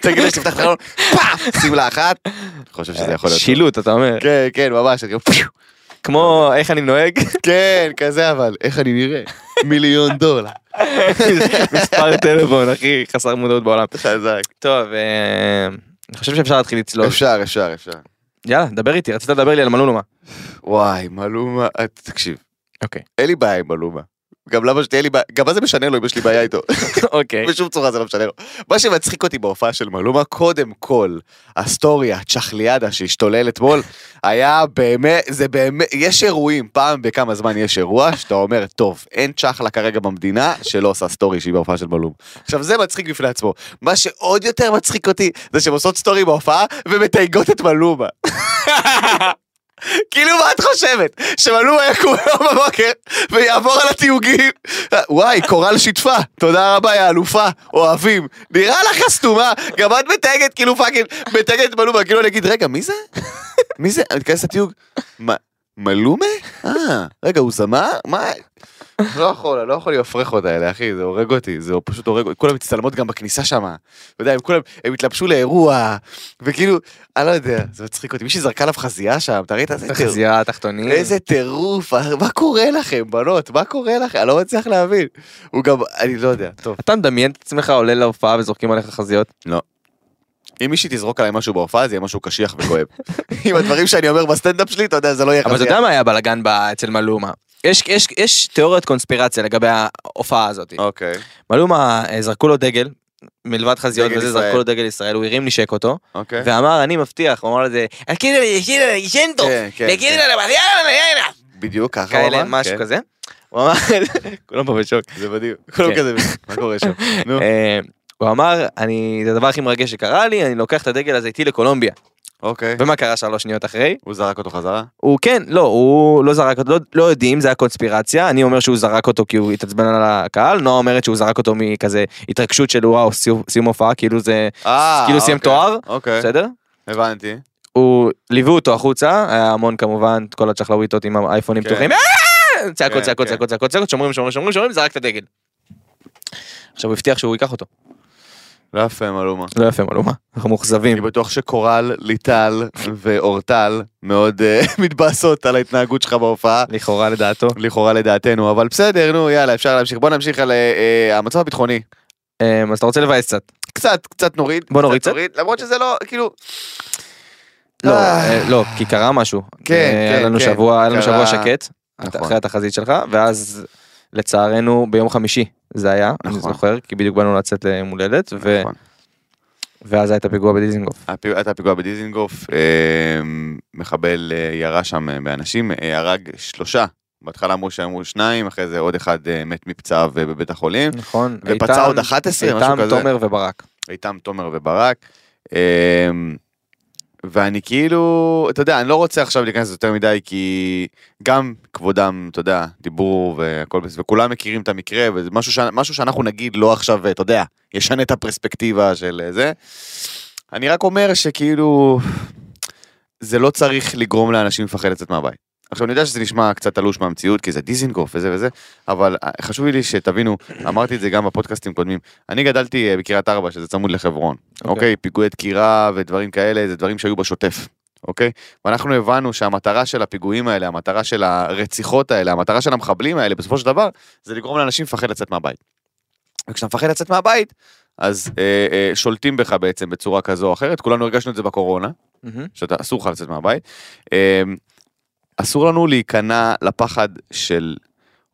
S3: תגיד לי שתפתח את החלון, פאף, שמלה אחת. אני חושב שזה יכול להיות.
S4: שילוט אתה אומר.
S3: כן, כן, ממש. אני-
S4: כמו איך אני נוהג,
S3: כן, כזה אבל, איך אני נראה? מיליון דולר.
S4: מספר טלפון הכי חסר מודעות בעולם.
S3: חזק.
S4: טוב, אה, אני חושב שאפשר להתחיל לצלול.
S3: אפשר, אפשר, אפשר.
S4: יאללה, דבר איתי, רצית לדבר לי על מלולומה.
S3: וואי, מלומה, את- תקשיב.
S4: אוקיי.
S3: אין לי בעיה עם מלומה. גם למה שתהיה לי בעיה, גם מה זה משנה לו אם יש לי בעיה איתו?
S4: אוקיי.
S3: בשום צורה זה לא משנה לו. מה שמצחיק אותי בהופעה של מלומה, קודם כל, הסטורי, הצ'חליאדה שהשתולל אתמול, היה באמת, זה באמת, יש אירועים, פעם בכמה זמן יש אירוע, שאתה אומר, טוב, אין צ'חלה כרגע במדינה שלא עושה סטורי שהיא בהופעה של מלום. עכשיו, זה מצחיק בפני עצמו. מה שעוד יותר מצחיק אותי, זה שהן עושות סטורי בהופעה ומתייגות את מלומה. כאילו מה את חושבת? שמלומה יקום היום בבוקר ויעבור על התיוגים? וואי, קורל שיתפה, תודה רבה, יא אלופה, אוהבים. נראה לך הסתומה, גם את מתייגת כאילו פאקינג, מתייגת את מלומה, כאילו אני אגיד, רגע, מי זה? מי זה? אני אכנס לתיוג. מה, מלומה? אה, רגע, הוא זמר? מה? לא יכול, לא יכול להפרחות האלה, אחי, זה הורג אותי, זה פשוט הורג אותי. כולם מצטלמות גם בכניסה שם. אתה יודע, הם כולם, הם התלבשו לאירוע, וכאילו, אני לא יודע, זה מצחיק אותי. מישהי זרקה עליו חזייה שם, אתה ראית? איזה טירוף.
S4: חזייה תחתונים.
S3: איזה טירוף, אה, מה קורה לכם, בנות? מה קורה לכם? אני לא מצליח להבין. הוא גם, אני לא יודע, טוב.
S4: אתה מדמיין את עצמך עולה להופעה וזורקים עליך חזיות?
S3: אם מישהי תזרוק עליי משהו בהופעה, זה יהיה משהו קשיח וכואב. עם הדברים שאני אומר בסטנדאפ שלי, אתה יודע, זה לא יהיה
S4: אבל אתה
S3: חזייה.
S4: יודע מה היה בלאגן אצל מלומה? יש- יש- יש תיאוריית קונספירציה לגבי ההופעה הזאת.
S3: אוקיי,
S4: מלומה אה, זרקו לו דגל, מלבד חזיות
S3: דגל
S4: וזה
S3: ישראל.
S4: זרקו לו דגל ישראל, הוא הרים נשק אותו,
S3: אוקיי.
S4: ואמר אני מבטיח, הוא אמר לזה, "הקירה לי, הקירה לי, ישנטו,
S3: כן, כן,
S4: הקירה
S3: כן.
S4: לי, אבל יאללה, יאללה."
S3: בדיוק ככה הוא
S4: כאלה,
S3: אמר.
S4: משהו
S3: כן.
S4: כזה. הוא אמר, כולם פה בשוק.
S3: זה בדיוק. כולם
S4: כן.
S3: כזה, מה קורה שם? נו,
S4: אה, הוא אמר, אני, זה הדבר הכי מרגש שקרה לי, אני לוקח את הדגל הזה איתי לקולומביה.
S3: אוקיי.
S4: ומה קרה שלוש שניות אחרי?
S3: הוא זרק אותו חזרה?
S4: הוא כן, לא, הוא לא זרק אותו, לא, לא יודעים, זה היה קונספירציה, אני אומר שהוא זרק אותו כי הוא התעצבן על הקהל, נועה אומרת שהוא זרק אותו מכזה התרגשות של וואו, סיום, סיום הופעה, כאילו זה,
S3: אה,
S4: כאילו סיים
S3: אוקיי.
S4: תואר,
S3: אוקיי,
S4: בסדר?
S3: הבנתי.
S4: הוא, ליוו אותו החוצה, היה המון כמובן, את כל הצ'חלאוויטות עם האייפונים
S3: כן.
S4: פתוחים, "אה!" צעקות,
S3: כן,
S4: צעקות,
S3: כן.
S4: צעקות, צעקות, צעקות, שומרים, שומרים, שומרים, שומרים, זרק את הדגל. עכשיו הוא הבטיח שהוא ייקח אותו,
S3: לא יפה, מלומה.
S4: לא יפה מלומה, אנחנו
S3: אני
S4: מאוכזבים.
S3: בטוח שקורל, ליטל ואורטל מאוד אה, מתבאסות על ההתנהגות שלך בהופעה.
S4: לכאורה לדעתו.
S3: לכאורה לדעתנו, אבל בסדר, נו, יאללה, אפשר להמשיך. בוא נמשיך על אה, אה, המצב הביטחוני.
S4: אמ, אז אתה רוצה לבאס קצת.
S3: קצת, קצת נוריד.
S4: בוא נוריד קצת.
S3: נוריד, למרות שזה לא, כאילו...
S4: לא,
S3: אה.
S4: אה, לא, כי קרה משהו.
S3: כן,
S4: אה,
S3: כן,
S4: היה לנו
S3: כן,
S4: שבוע, היה לנו
S3: קרה-
S4: שבוע שקט,
S3: נכון.
S4: אחרי התחזית שלך, ואז לצערנו ביום חמישי זה היה, אני
S3: נכון.
S4: זוכר, כי בדיוק באנו לצאת ליום הולדת, ו-
S3: נכון.
S4: ואז היה את הפיגוע בדיזינגוף.
S3: הפי- היה את הפיגוע בדיזינגוף, אה, מחבל אה, ירה שם אה, באנשים, אה, הרג שלושה. בהתחלה אמרו שאמרו שניים, אחרי זה עוד אחד אה, מת מפצעיו אה, בבית החולים.
S4: נכון.
S3: ופצע עוד 11, משהו
S4: איתם
S3: כזה.
S4: תומר וברק.
S3: איתם תומר וברק. אמ, ואני כאילו, אתה יודע, אני לא רוצה עכשיו להיכנס יותר מדי, כי גם כבודם, אתה יודע, דיבור והכל בסדר, וכולם מכירים את המקרה, וזה משהו, ש... משהו שאנחנו נגיד לא עכשיו, אתה יודע, ישנה את הפרספקטיבה של אה, זה. אני רק אומר שכאילו, זה לא צריך לגרום לאנשים לפחד לצאת מהבית. עכשיו, אני יודע שזה נשמע קצת תלוש מהמציאות, כי זה דיזינגוף וזה וזה, אבל אה, חשוב לי שתבינו, אמרתי את זה גם בפודקאסטים קודמים, אני גדלתי אה, בקריית ארבע, שזה צמוד לחברון,
S4: אוקיי.
S3: אוקיי? פיגועי דקירה ודברים כאלה, זה דברים שהיו בשוטף, אוקיי? ואנחנו הבנו שהמטרה של הפיגועים האלה, המטרה של הרציחות האלה, המטרה של המחבלים האלה, בסופו של דבר, זה לגרום לאנשים לפחד לצאת מהבית. וכשאתה מפחד לצאת מהבית, אז אה, אה, שולטים בך בעצם בצורה כזו או אחרת, כולנו הרגשנו את זה בקורונה, שאתה אסור לך לצאת מהבית. אמ, אסור לנו להיכנע לפחד של,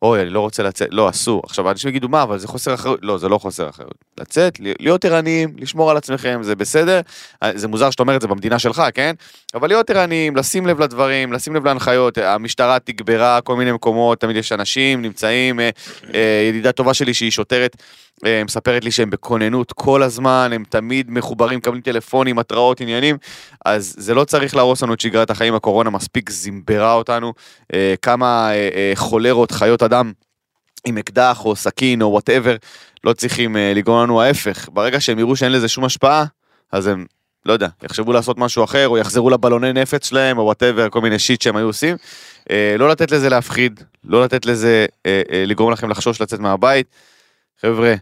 S3: אוי, אני לא רוצה לצאת, לא, אסור. עכשיו, אנשים יגידו, מה, אבל זה חוסר אחריות. לא, זה לא חוסר אחריות. לצאת, ל- להיות ערניים, לשמור על עצמכם, זה בסדר. אה, זה מוזר שאתה אומר את זה במדינה שלך, כן? אבל להיות ערניים, לשים לב לדברים, לשים לב להנחיות. המשטרה תגברה כל מיני מקומות, תמיד יש אנשים, נמצאים, אה, אה, ידידה טובה שלי שהיא שוטרת. אה, מספרת לי שהם בכוננות כל הזמן, הם תמיד מחוברים, מקבלים טלפונים, התראות, עניינים. אז זה לא צריך להרוס לנו את שגרת החיים, הקורונה מספיק זימברה אותנו, אה, כמה אה, אה, חולרות, חיות אדם. עם אקדח או סכין או וואטאבר, לא צריכים אה, לגרום לנו ההפך. ברגע שהם יראו שאין לזה שום השפעה, אז הם, לא יודע, יחשבו לעשות משהו אחר, או יחזרו לבלוני נפץ שלהם, או וואטאבר, כל מיני שיט שהם היו עושים. אה, לא לתת לזה להפחיד, לא לתת לזה אה, אה, לגרום לכם לחשוש לצאת מהבית. חבר'ה,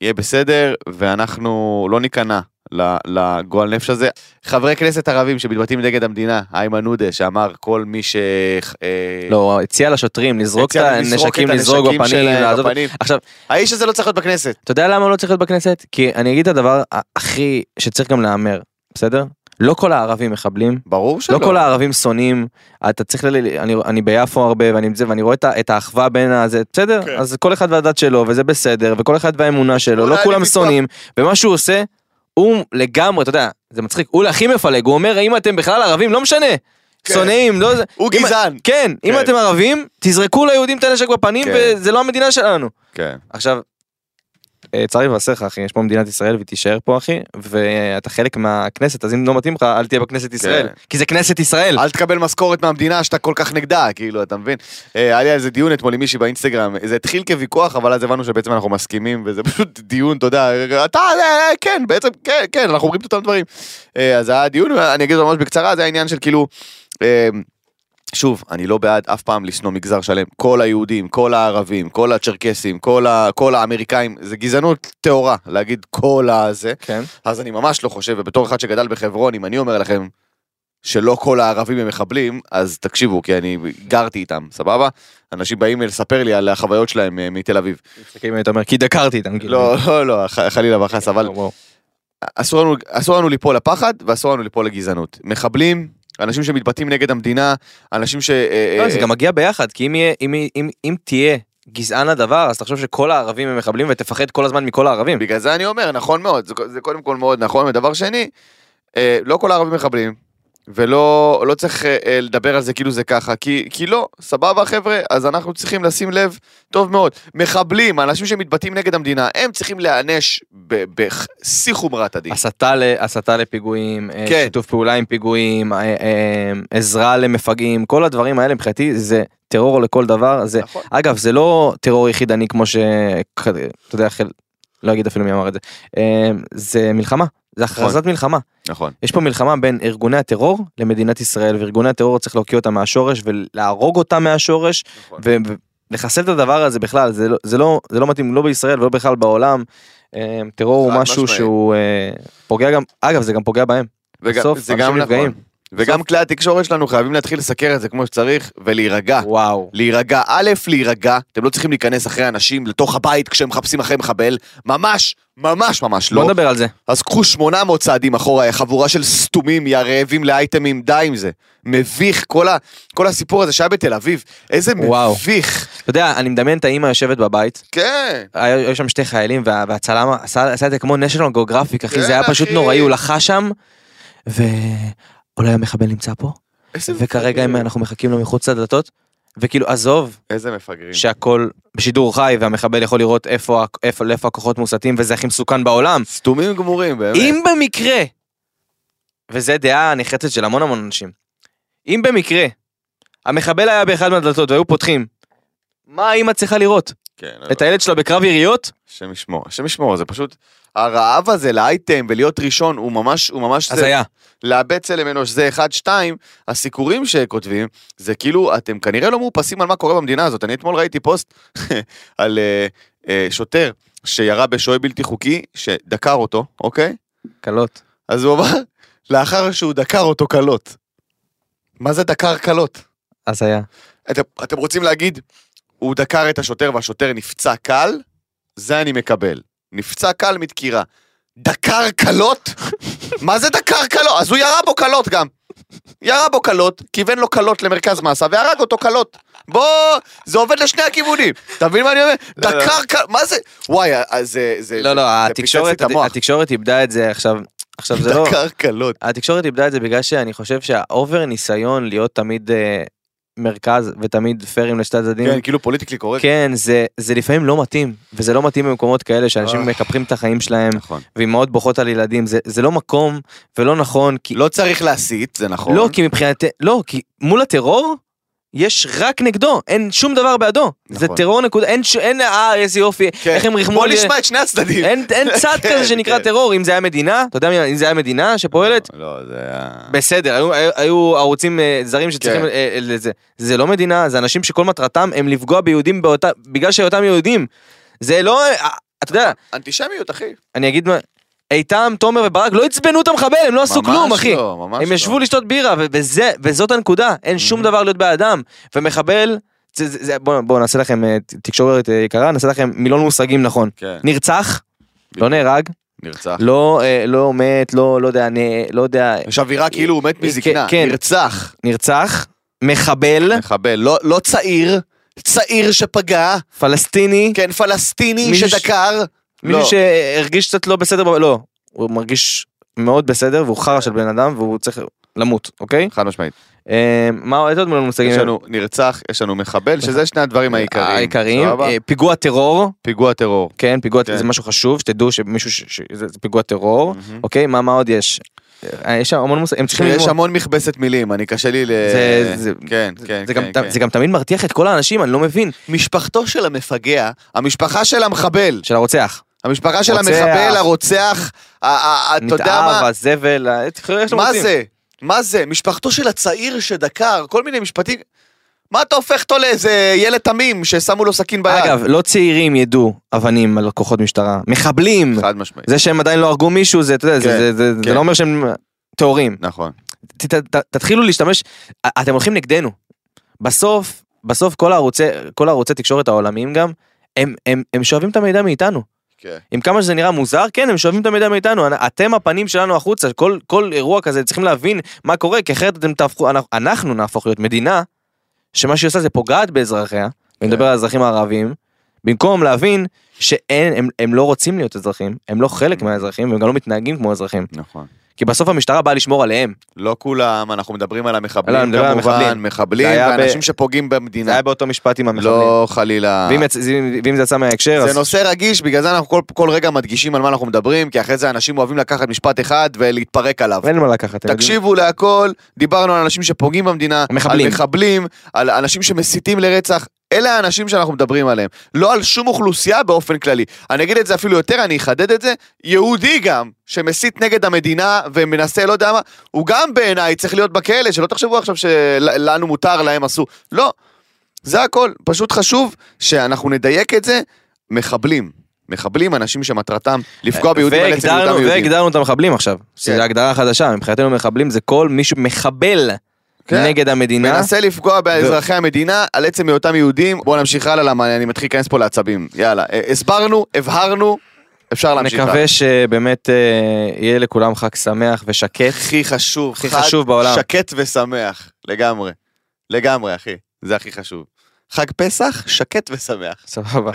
S3: יהיה בסדר, ואנחנו לא ניכנע ל- לגועל נפש הזה. חברי כנסת ערבים שמתבטאים נגד המדינה, איימן עודה, שאמר כל מי ש... אה,
S4: לא, הוא הציע לשוטרים לזרוק את
S3: הציע להם לזרוק
S4: הנשקים,
S3: את
S4: לזרוק
S3: הנשקים
S4: בפנים,
S3: שלהם
S4: לעזוב.
S3: בפנים.
S4: עכשיו,
S3: האיש הזה לא צריך להיות בכנסת.
S4: אתה יודע למה הוא לא צריך להיות בכנסת? כי אני אגיד את הדבר ה- הכי שצריך גם להיאמר, בסדר? לא כל הערבים מחבלים,
S3: ברור שלא.
S4: לא כל הערבים שונאים, אתה צריך, ל... אני, אני ביפו הרבה ואני, עם זה, ואני רואה את, ה- את האחווה בין הזה, בסדר?
S3: כן.
S4: אז כל אחד והדת שלו וזה בסדר, וכל אחד והאמונה שלו,
S3: אולי
S4: לא
S3: אני
S4: כולם
S3: ויכוח.
S4: שונאים, ומה שהוא עושה, הוא לגמרי, אתה יודע, זה מצחיק, הוא הכי מפלג, הוא אומר אם אתם בכלל ערבים, לא משנה,
S3: כן.
S4: שונאים, לא זה,
S3: הוא
S4: אם-
S3: גזען.
S4: כן, אם
S3: כן.
S4: אתם ערבים, תזרקו ליהודים את הנשק בפנים,
S3: כן.
S4: וזה לא המדינה שלנו.
S3: כן.
S4: עכשיו, אה, צר לי לבשר לך אחי, יש פה מדינת ישראל והיא תישאר פה אחי, ואתה חלק מהכנסת, אז אם לא מתאים לך, אל תהיה בכנסת ישראל, כי זה כנסת ישראל.
S3: כן. אל תקבל משכורת מהמדינה שאתה כל כך נגדה, כאילו, אתה מבין? אה, היה לי על זה דיון אתמול עם מישהי באינסטגרם, זה התחיל כוויכוח, אבל אז הבנו שבעצם אנחנו מסכימים, וזה פשוט דיון, אתה יודע, אתה, אה, אה, כן, בעצם, כן, כן, אנחנו אומרים את אותם דברים. אה, אז היה דיון, אני אגיד ממש בקצרה, זה העניין של כאילו... אה, שוב, אני לא בעד אף פעם לשנוא מגזר שלם. כל היהודים, כל הערבים, כל הצ'רקסים, כל, ה, כל האמריקאים, זה גזענות טהורה להגיד כל הזה.
S4: כן.
S3: אז אני ממש לא חושב, ובתור אחד שגדל בחברון, אם אני אומר לכם שלא כל הערבים הם מחבלים, אז תקשיבו, כי אני גרתי איתם, סבבה? אנשים באים לספר לי על החוויות שלהם אה, מתל אביב.
S4: אם היית אומר כי דקרתי אותם. כאילו.
S3: לא, לא, לא, ח- חלילה וחס, אבל
S4: וואו.
S3: אסור לנו, אסור לנו ליפול לפחד ואסור לנו ליפול לגזענות. מחבלים, אנשים שמתבטאים נגד המדינה, אנשים ש... אה,
S4: לא,
S3: אה,
S4: זה גם מגיע ביחד, כי אם יהיה- אם יהיה- אם- אם תהיה גזען לדבר, אז תחשוב שכל הערבים הם מחבלים ותפחד כל הזמן מכל הערבים.
S3: כן, בגלל זה אני אומר, נכון מאוד, זה, זה קודם כל מאוד נכון, ודבר שני, אה, לא כל הערבים מחבלים, ולא לא צריך אה, אה, לדבר על זה כאילו זה ככה, כי, כי לא, סבבה חבר'ה, אז אנחנו צריכים לשים לב טוב מאוד. מחבלים, אנשים שמתבטאים נגד המדינה, הם צריכים להיענש ב- בשיא חומרת הדין.
S4: הסתה ל- הסתה לפיגועים, אה,
S3: כן.
S4: שיתוף פעולה עם פיגועים, אה, אה, עזרה למפגעים, כל הדברים האלה מבחינתי זה טרור לכל דבר, זה
S3: נכון.
S4: אגב זה לא טרור יחידני כמו ש... כ- אתה יודע, חל- לא אגיד אפילו מי אמר את זה, אה, זה מלחמה, זה הכרזת מלחמה.
S3: נכון.
S4: יש פה מלחמה בין ארגוני הטרור למדינת ישראל, וארגוני הטרור צריך להוקיע אותם מהשורש ולהרוג אותם מהשורש,
S3: נכון.
S4: ו- ולחסל את הדבר הזה בכלל, זה לא, זה, לא, זה לא מתאים לא בישראל ולא בכלל בעולם. אה, טרור הוא
S3: חד
S4: משהו
S3: משמעית.
S4: שהוא אה, פוגע גם, אגב זה גם פוגע בהם.
S3: וגם-
S4: בסוף
S3: זה
S4: אנשים
S3: גם נכון.
S4: נפגעים.
S3: וגם כלי התקשורת שלנו חייבים להתחיל לסקר את זה כמו שצריך, ולהירגע.
S4: וואו.
S3: להירגע. א', להירגע, אתם לא צריכים להיכנס אחרי אנשים לתוך הבית כשהם מחפשים אחרי מחבל, ממש, ממש ממש
S4: בוא
S3: לא.
S4: נדבר על זה.
S3: אז קחו 800 צעדים אחורה, חבורה של סתומים, יא רעבים לאייטמים, די עם זה. מביך, כל, ה, כל הסיפור הזה שהיה בתל אביב, איזה
S4: וואו.
S3: מביך.
S4: אתה יודע, אני מדמיין את האימא יושבת בבית,
S3: כן.
S4: היה- היו שם שתי חיילים, וה- והצלם עשה עשה את זה כמו national geographic, אחי,
S3: כן,
S4: זה היה פשוט
S3: אחי.
S4: נוראי, הוא לחש שם, ואולי המחבל נמצא פה,
S3: איזה
S4: וכרגע אם
S3: מפגרים.
S4: אנחנו מחכים לו מחוץ לדלתות, וכאילו, עזוב,
S3: איזה מפגרים.
S4: שהכל בשידור חי והמחבל יכול לראות איפה, ה- איפה, לאיפה הכוחות מוסטים וזה הכי מסוכן בעולם.
S3: סתומים גמורים, באמת.
S4: אם במקרה וזה דעה נחרצת של המון המון אנשים. אם במקרה, המחבל היה באחד מהדלתות והיו פותחים, מה האמא צריכה לראות?
S3: כן,
S4: את הילד שלה בקרב יריות?
S3: השם ישמור, השם ישמור, זה פשוט, הרעב הזה לאייטם ולהיות ראשון, הוא ממש, הוא ממש,
S4: אז
S3: זה-
S4: היה.
S3: לאבד צלם אנוש זה אחד, שתיים, הסיקורים שכותבים, זה כאילו, אתם כנראה לא מאופסים על מה קורה במדינה הזאת. אני אתמול ראיתי פוסט על אה, אה, שוטר שירה בשוהה בלתי חוקי, שדקר אותו, אוקיי?
S4: קלות.
S3: אז הוא אמר, לאחר שהוא דקר אותו קלות. מה זה דקר קלות?
S4: אז היה.
S3: אתם, אתם רוצים להגיד, הוא דקר את השוטר והשוטר נפצע קל? זה אני מקבל. נפצע קל מדקירה. דקר קלות? מה זה דקר קלות? אז הוא ירה בו קלות גם. ירה בו קלות, כיוון לו קלות למרכז מסה והרג אותו קלות. בוא, זה עובד לשני הכיוונים. אתה מבין מה אני אומר?
S4: לא, לא.
S3: דקר קלות, מה זה? וואי, אז זה... זה-
S4: לא, לא,
S3: זה פיצץ לי
S4: התקשורת,
S3: את המוח.
S4: התקשורת איבדה את זה עכשיו. עכשיו זה לא...
S3: דקר קלות.
S4: התקשורת איבדה את זה בגלל שאני חושב שהאובר ניסיון להיות תמיד אה, מרכז ותמיד פיירים לשתי הצדדים,
S3: כן, כאילו פוליטיקלי קורקט.
S4: כן, זה, זה לפעמים לא מתאים, וזה לא מתאים במקומות כאלה שאנשים
S3: אה.
S4: מקפחים את החיים שלהם,
S3: נכון.
S4: ואימהות בוכות על ילדים, זה, זה לא מקום ולא נכון, כי...
S3: לא צריך להסית, זה נכון.
S4: לא, כי מבחינת... לא, כי מול הטרור... יש רק נגדו, אין שום דבר בעדו. זה
S3: נכון.
S4: טרור נקודה, אין, ש... אין, אה, איזה יופי,
S3: כן.
S4: איך הם ריחמו
S3: בוא
S4: לי... אה,
S3: נשמע את שני הצדדים.
S4: אין, אין צד
S3: כן,
S4: כזה שנקרא
S3: כן.
S4: טרור, אם זה היה מדינה, אתה יודע, מי- אם זה היה מדינה שפועלת,
S3: לא, זה היה...
S4: בסדר, היו, היו, היו ערוצים אה, זרים שצריכים
S3: כן.
S4: אה, לזה. זה לא מדינה, זה אנשים שכל מטרתם הם לפגוע ביהודים באותה, בגלל שהיותם יהודים. זה לא, אה, אתה יודע,
S3: אנטישמיות, אחי.
S4: אני אגיד מה, איתם, תומר וברק לא עצבנו את המחבל, הם לא עשו כלום, אחי.
S3: ממש לא, ממש לא.
S4: הם ישבו לשתות בירה, ו- וזה, וזאת הנקודה, אין שום
S3: Mhm.
S4: דבר להיות בעדם. ומחבל, זה- זה- זה- בואו בואו נעשה לכם אה, ת- תקשורת אה, יקרה, נעשה לכם מילון מושגים נכון.
S3: כן,
S4: נרצח, לא
S3: בדיוק.
S4: נהרג,
S3: נרצח.
S4: לא אה, לא מת, לא לא יודע, נ- לא יודע,
S3: יש אווירה כאילו הוא מת
S4: כן,
S3: מזקנה.
S4: כן.
S3: נרצח.
S4: נרצח, מחבל,
S3: מחבל. לא- לא צעיר. צעיר שפגע.
S4: פלסטיני,
S3: כן, פלסטיני
S4: מישהו ש-
S3: שדקר.
S4: מישהו
S3: לא.
S4: שהרגיש קצת לא בסדר, ב- לא, הוא מרגיש מאוד בסדר והוא חרא של בן אדם והוא צריך למות, אוקיי?
S3: חד משמעית.
S4: אה, מה איזה עוד מילון מושגים?
S3: יש לנו נרצח, יש לנו מחבל, שזה שני הדברים העיקריים.
S4: העיקריים,
S3: סבבה?
S4: אה, פיגוע טרור,
S3: פיגוע טרור.
S4: כן, פיגוע,
S3: כן.
S4: זה משהו חשוב, שתדעו שמישהו, ש- ש- זה זה פיגוע טרור,
S3: מהמם.
S4: אוקיי, מה מה עוד יש? אה, יש שם המון מושגים, הם צריכים
S3: יש
S4: ללמוד.
S3: המון מכבסת מילים, אני קשה לי ל...
S4: זה- זה-
S3: כן, כן,
S4: זה גם-
S3: כן. כן.
S4: זה גם תמיד מרתיח את כל האנשים, אני לא מבין,
S3: משפחתו של המפגע, המשפחה של המחבל.
S4: של הרוצח.
S3: המשפחה של
S4: רוצח.
S3: המחבל, הרוצח, ה- ה- ה- אתה יודע
S4: נתעב,
S3: מה,
S4: הזבל, ה- איך שאתם
S3: מה
S4: רוצים.
S3: זה? מה זה? משפחתו של הצעיר שדקר, כל מיני משפטים. מה אתה הופך אותו לאיזה ילד תמים ששמו לו סכין ביד?
S4: אגב, לא צעירים ידעו אבנים על כוחות משטרה, מחבלים,
S3: חד משמעית.
S4: זה שהם עדיין לא הרגו מישהו, זה, אתה יודע, זה-
S3: כן,
S4: זה- זה- זה
S3: כן.
S4: לא אומר שהם טהורים.
S3: נכון.
S4: ת- ת- ת- תתחילו להשתמש, א- אתם הולכים נגדנו. בסוף, בסוף כל הערוצי, כל הערוצי תקשורת העולמיים גם, הם, הם, הם שואבים את המידע מאיתנו.
S3: כן.
S4: עם כמה שזה נראה מוזר, כן, הם שואבים את המידע מאיתנו, אנ- אתם הפנים שלנו החוצה, כל, כל אירוע כזה צריכים להבין מה קורה, כי אחרת אתם תהפכו, אנחנו, אנחנו נהפוך להיות מדינה, שמה שהיא עושה זה פוגעת באזרחיה, אני מדבר על האזרחים הערבים, במקום להבין שאין, הם, הם לא רוצים להיות אזרחים, הם לא חלק מהאזרחים, והם גם לא מתנהגים כמו אזרחים,
S3: נכון.
S4: כי בסוף המשטרה באה לשמור עליהם.
S3: לא כולם, אנחנו מדברים על
S4: לא,
S3: המחבלים
S4: אני מדבר על
S3: כמובן,
S4: המחבלים.
S3: מחבלים
S4: זה היה ב-
S3: ואנשים שפוגעים
S4: זה
S3: במדינה.
S4: היה באותו משפט עם המחבלים.
S3: לא חלילה.
S4: ואם, יצ... זה- ואם זה יצא מההקשר,
S3: זה
S4: אז...
S3: נושא רגיש, בגלל זה אנחנו כל- כל רגע מדגישים על מה אנחנו מדברים, כי אחרי זה אנשים אוהבים לקחת משפט אחד ולהתפרק עליו.
S4: אין מה לקחת. אתם יודעים.
S3: תקשיבו להכל, דיברנו על אנשים שפוגעים במדינה,
S4: מחבלים.
S3: על מחבלים, על אנשים שמסיתים לרצח, אלה האנשים שאנחנו מדברים עליהם, לא על שום אוכלוסייה באופן כללי. אני אגיד את זה אפילו יותר, אני אחדד את זה, יהודי גם, שמסית נגד המדינה ומנסה לא יודע מה, הוא גם בעיניי צריך להיות בכלא, שלא תחשבו עכשיו שלנו מותר, להם אסור, לא. זה הכל, פשוט חשוב שאנחנו נדייק את זה, מחבלים. מחבלים, אנשים שמטרתם לפגוע ביהודים על עצם
S4: והגדרנו-
S3: היותם יהודים.
S4: והגדרנו את המחבלים עכשיו.
S3: כן.
S4: שזו הגדרה חדשה, מבחינתנו מחבלים זה כל מי שמחבל
S3: כן.
S4: נגד המדינה.
S3: מנסה לפגוע באזרחי המדינה על עצם היותם יהודים. בואו נמשיך הלאה, למה אני מתחיל להיכנס פה לעצבים. יאללה, אה, הסברנו, הבהרנו, אפשר להמשיך הלאה.
S4: נקווה שבאמת אה, יהיה לכולם חג שמח ושקט.
S3: הכי חשוב,
S4: הכי
S3: חד,
S4: חשוב בעולם.
S3: שקט ושמח, לגמרי. לגמרי, אחי, זה הכי חשוב. חג פסח, שקט ושמח.
S4: סבבה.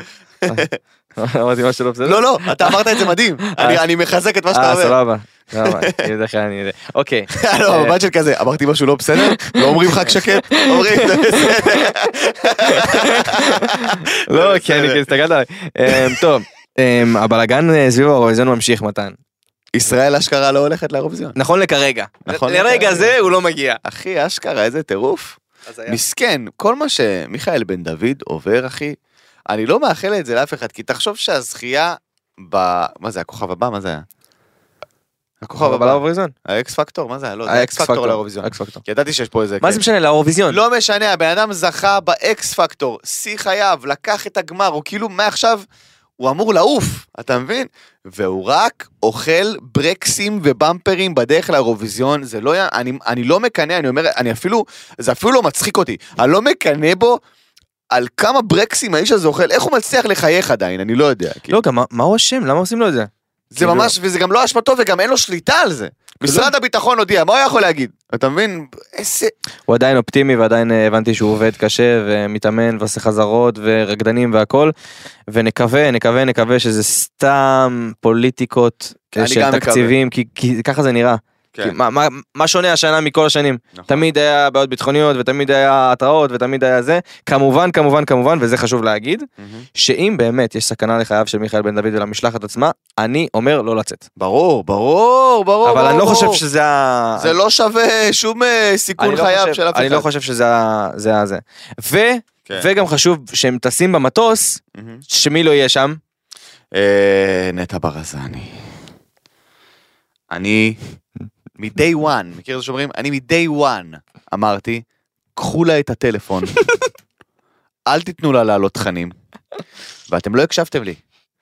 S4: אמרתי משהו לא בסדר?
S3: לא, לא, אתה אמרת את זה מדהים. אני- אני מחזק את מה שאתה
S4: אה,
S3: אומר.
S4: סבבה. סבבה. אני יודע איך אני יודע. אוקיי.
S3: לא, המבט של כזה, אמרתי משהו לא בסדר? לא אומרים חג שקט? אומרים, "זה בסדר."
S4: לא,
S3: לא, בסדר.
S4: כי אני כאילו הסתכלת עליי. אמ, טוב. אמ, הבלגן אה, סביב האירוויזיון ממשיך מתן.
S3: ישראל אשכרה לא הולכת לאירוויזיון.
S4: נכון לכרגע.
S3: נכון
S4: לרגע
S3: לכרגע.
S4: זה הוא לא מגיע.
S3: אחי, אשכרה, איזה טירוף. מסכן, כל מה שמיכאל בן דוד עובר, אחי, אני לא מאחל את זה לאף אחד, כי תחשוב שהזכייה ב... מה זה, הכוכב הבא? מה זה היה? הכוכב
S4: אבל
S3: הבא,
S4: לאירוויזיון.
S3: האקס פקטור, מה זה היה? לא, זה היה אקס פקטור לאירוויזיון.
S4: האקס פקטור.
S3: ידעתי שיש פה איזה...
S4: מה זה משנה לאירוויזיון?
S3: לא משנה, הבן אדם זכה באקס פקטור, שיא חייו, לקח את הגמר, הוא כאילו מעכשיו, הוא אמור לעוף, אתה מבין? והוא רק אוכל ברקסים ובמפרים בדרך לאירוויזיון, זה לא היה, אני, אני לא מקנא, אני אומר, אני אפילו, זה אפילו לא מצחיק אותי, אני לא מקנא בו על כמה ברקסים האיש הזה אוכל, איך הוא מצליח לחייך עדיין, אני לא יודע. כאילו.
S4: לא, גם מה- מה הוא אשם? למה עושים לו את זה?
S3: זה
S4: כאילו-
S3: ממש, וזה גם לא אשמתו וגם אין לו שליטה על זה. משרד הביטחון הודיע, מה הוא יכול להגיד? אתה מבין? איזה...
S4: הוא עדיין אופטימי ועדיין אה, הבנתי שהוא עובד קשה ומתאמן ועושה חזרות ורקדנים והכל ונקווה נקווה נקווה שזה סתם פוליטיקות אה,
S3: אני
S4: של
S3: גם מקווה.
S4: תקציבים כי, כי ככה זה נראה. כי מה, מה, מה שונה השנה מכל השנים?
S3: נכון.
S4: תמיד היה בעיות ביטחוניות ותמיד היה התראות ותמיד היה זה. כמובן כמובן כמובן וזה חשוב להגיד
S3: מהמם.
S4: שאם באמת יש סכנה לחייו של מיכאל בן דוד ולמשלחת עצמה אני אומר לא לצאת.
S3: ברור, ברור, ברור.
S4: אבל אני לא
S3: ברור.
S4: חושב שזה ה...
S3: זה לא שווה שום אה,
S4: אני
S3: סיכון
S4: לא
S3: חייו
S4: חושב-
S3: של אף אחד.
S4: אני לא חושב שזה ה- זה ה- זה. ו...
S3: כן.
S4: וגם חשוב שהם טסים במטוס,
S3: מהמם.
S4: שמי לא יהיה שם?
S3: אה, נטע ברזני. אני מ-day one, מכיר את זה שאומרים? אני מ-day one אמרתי, קחו לה את הטלפון, אל תיתנו לה להעלות תכנים. ואתם לא הקשבתם לי.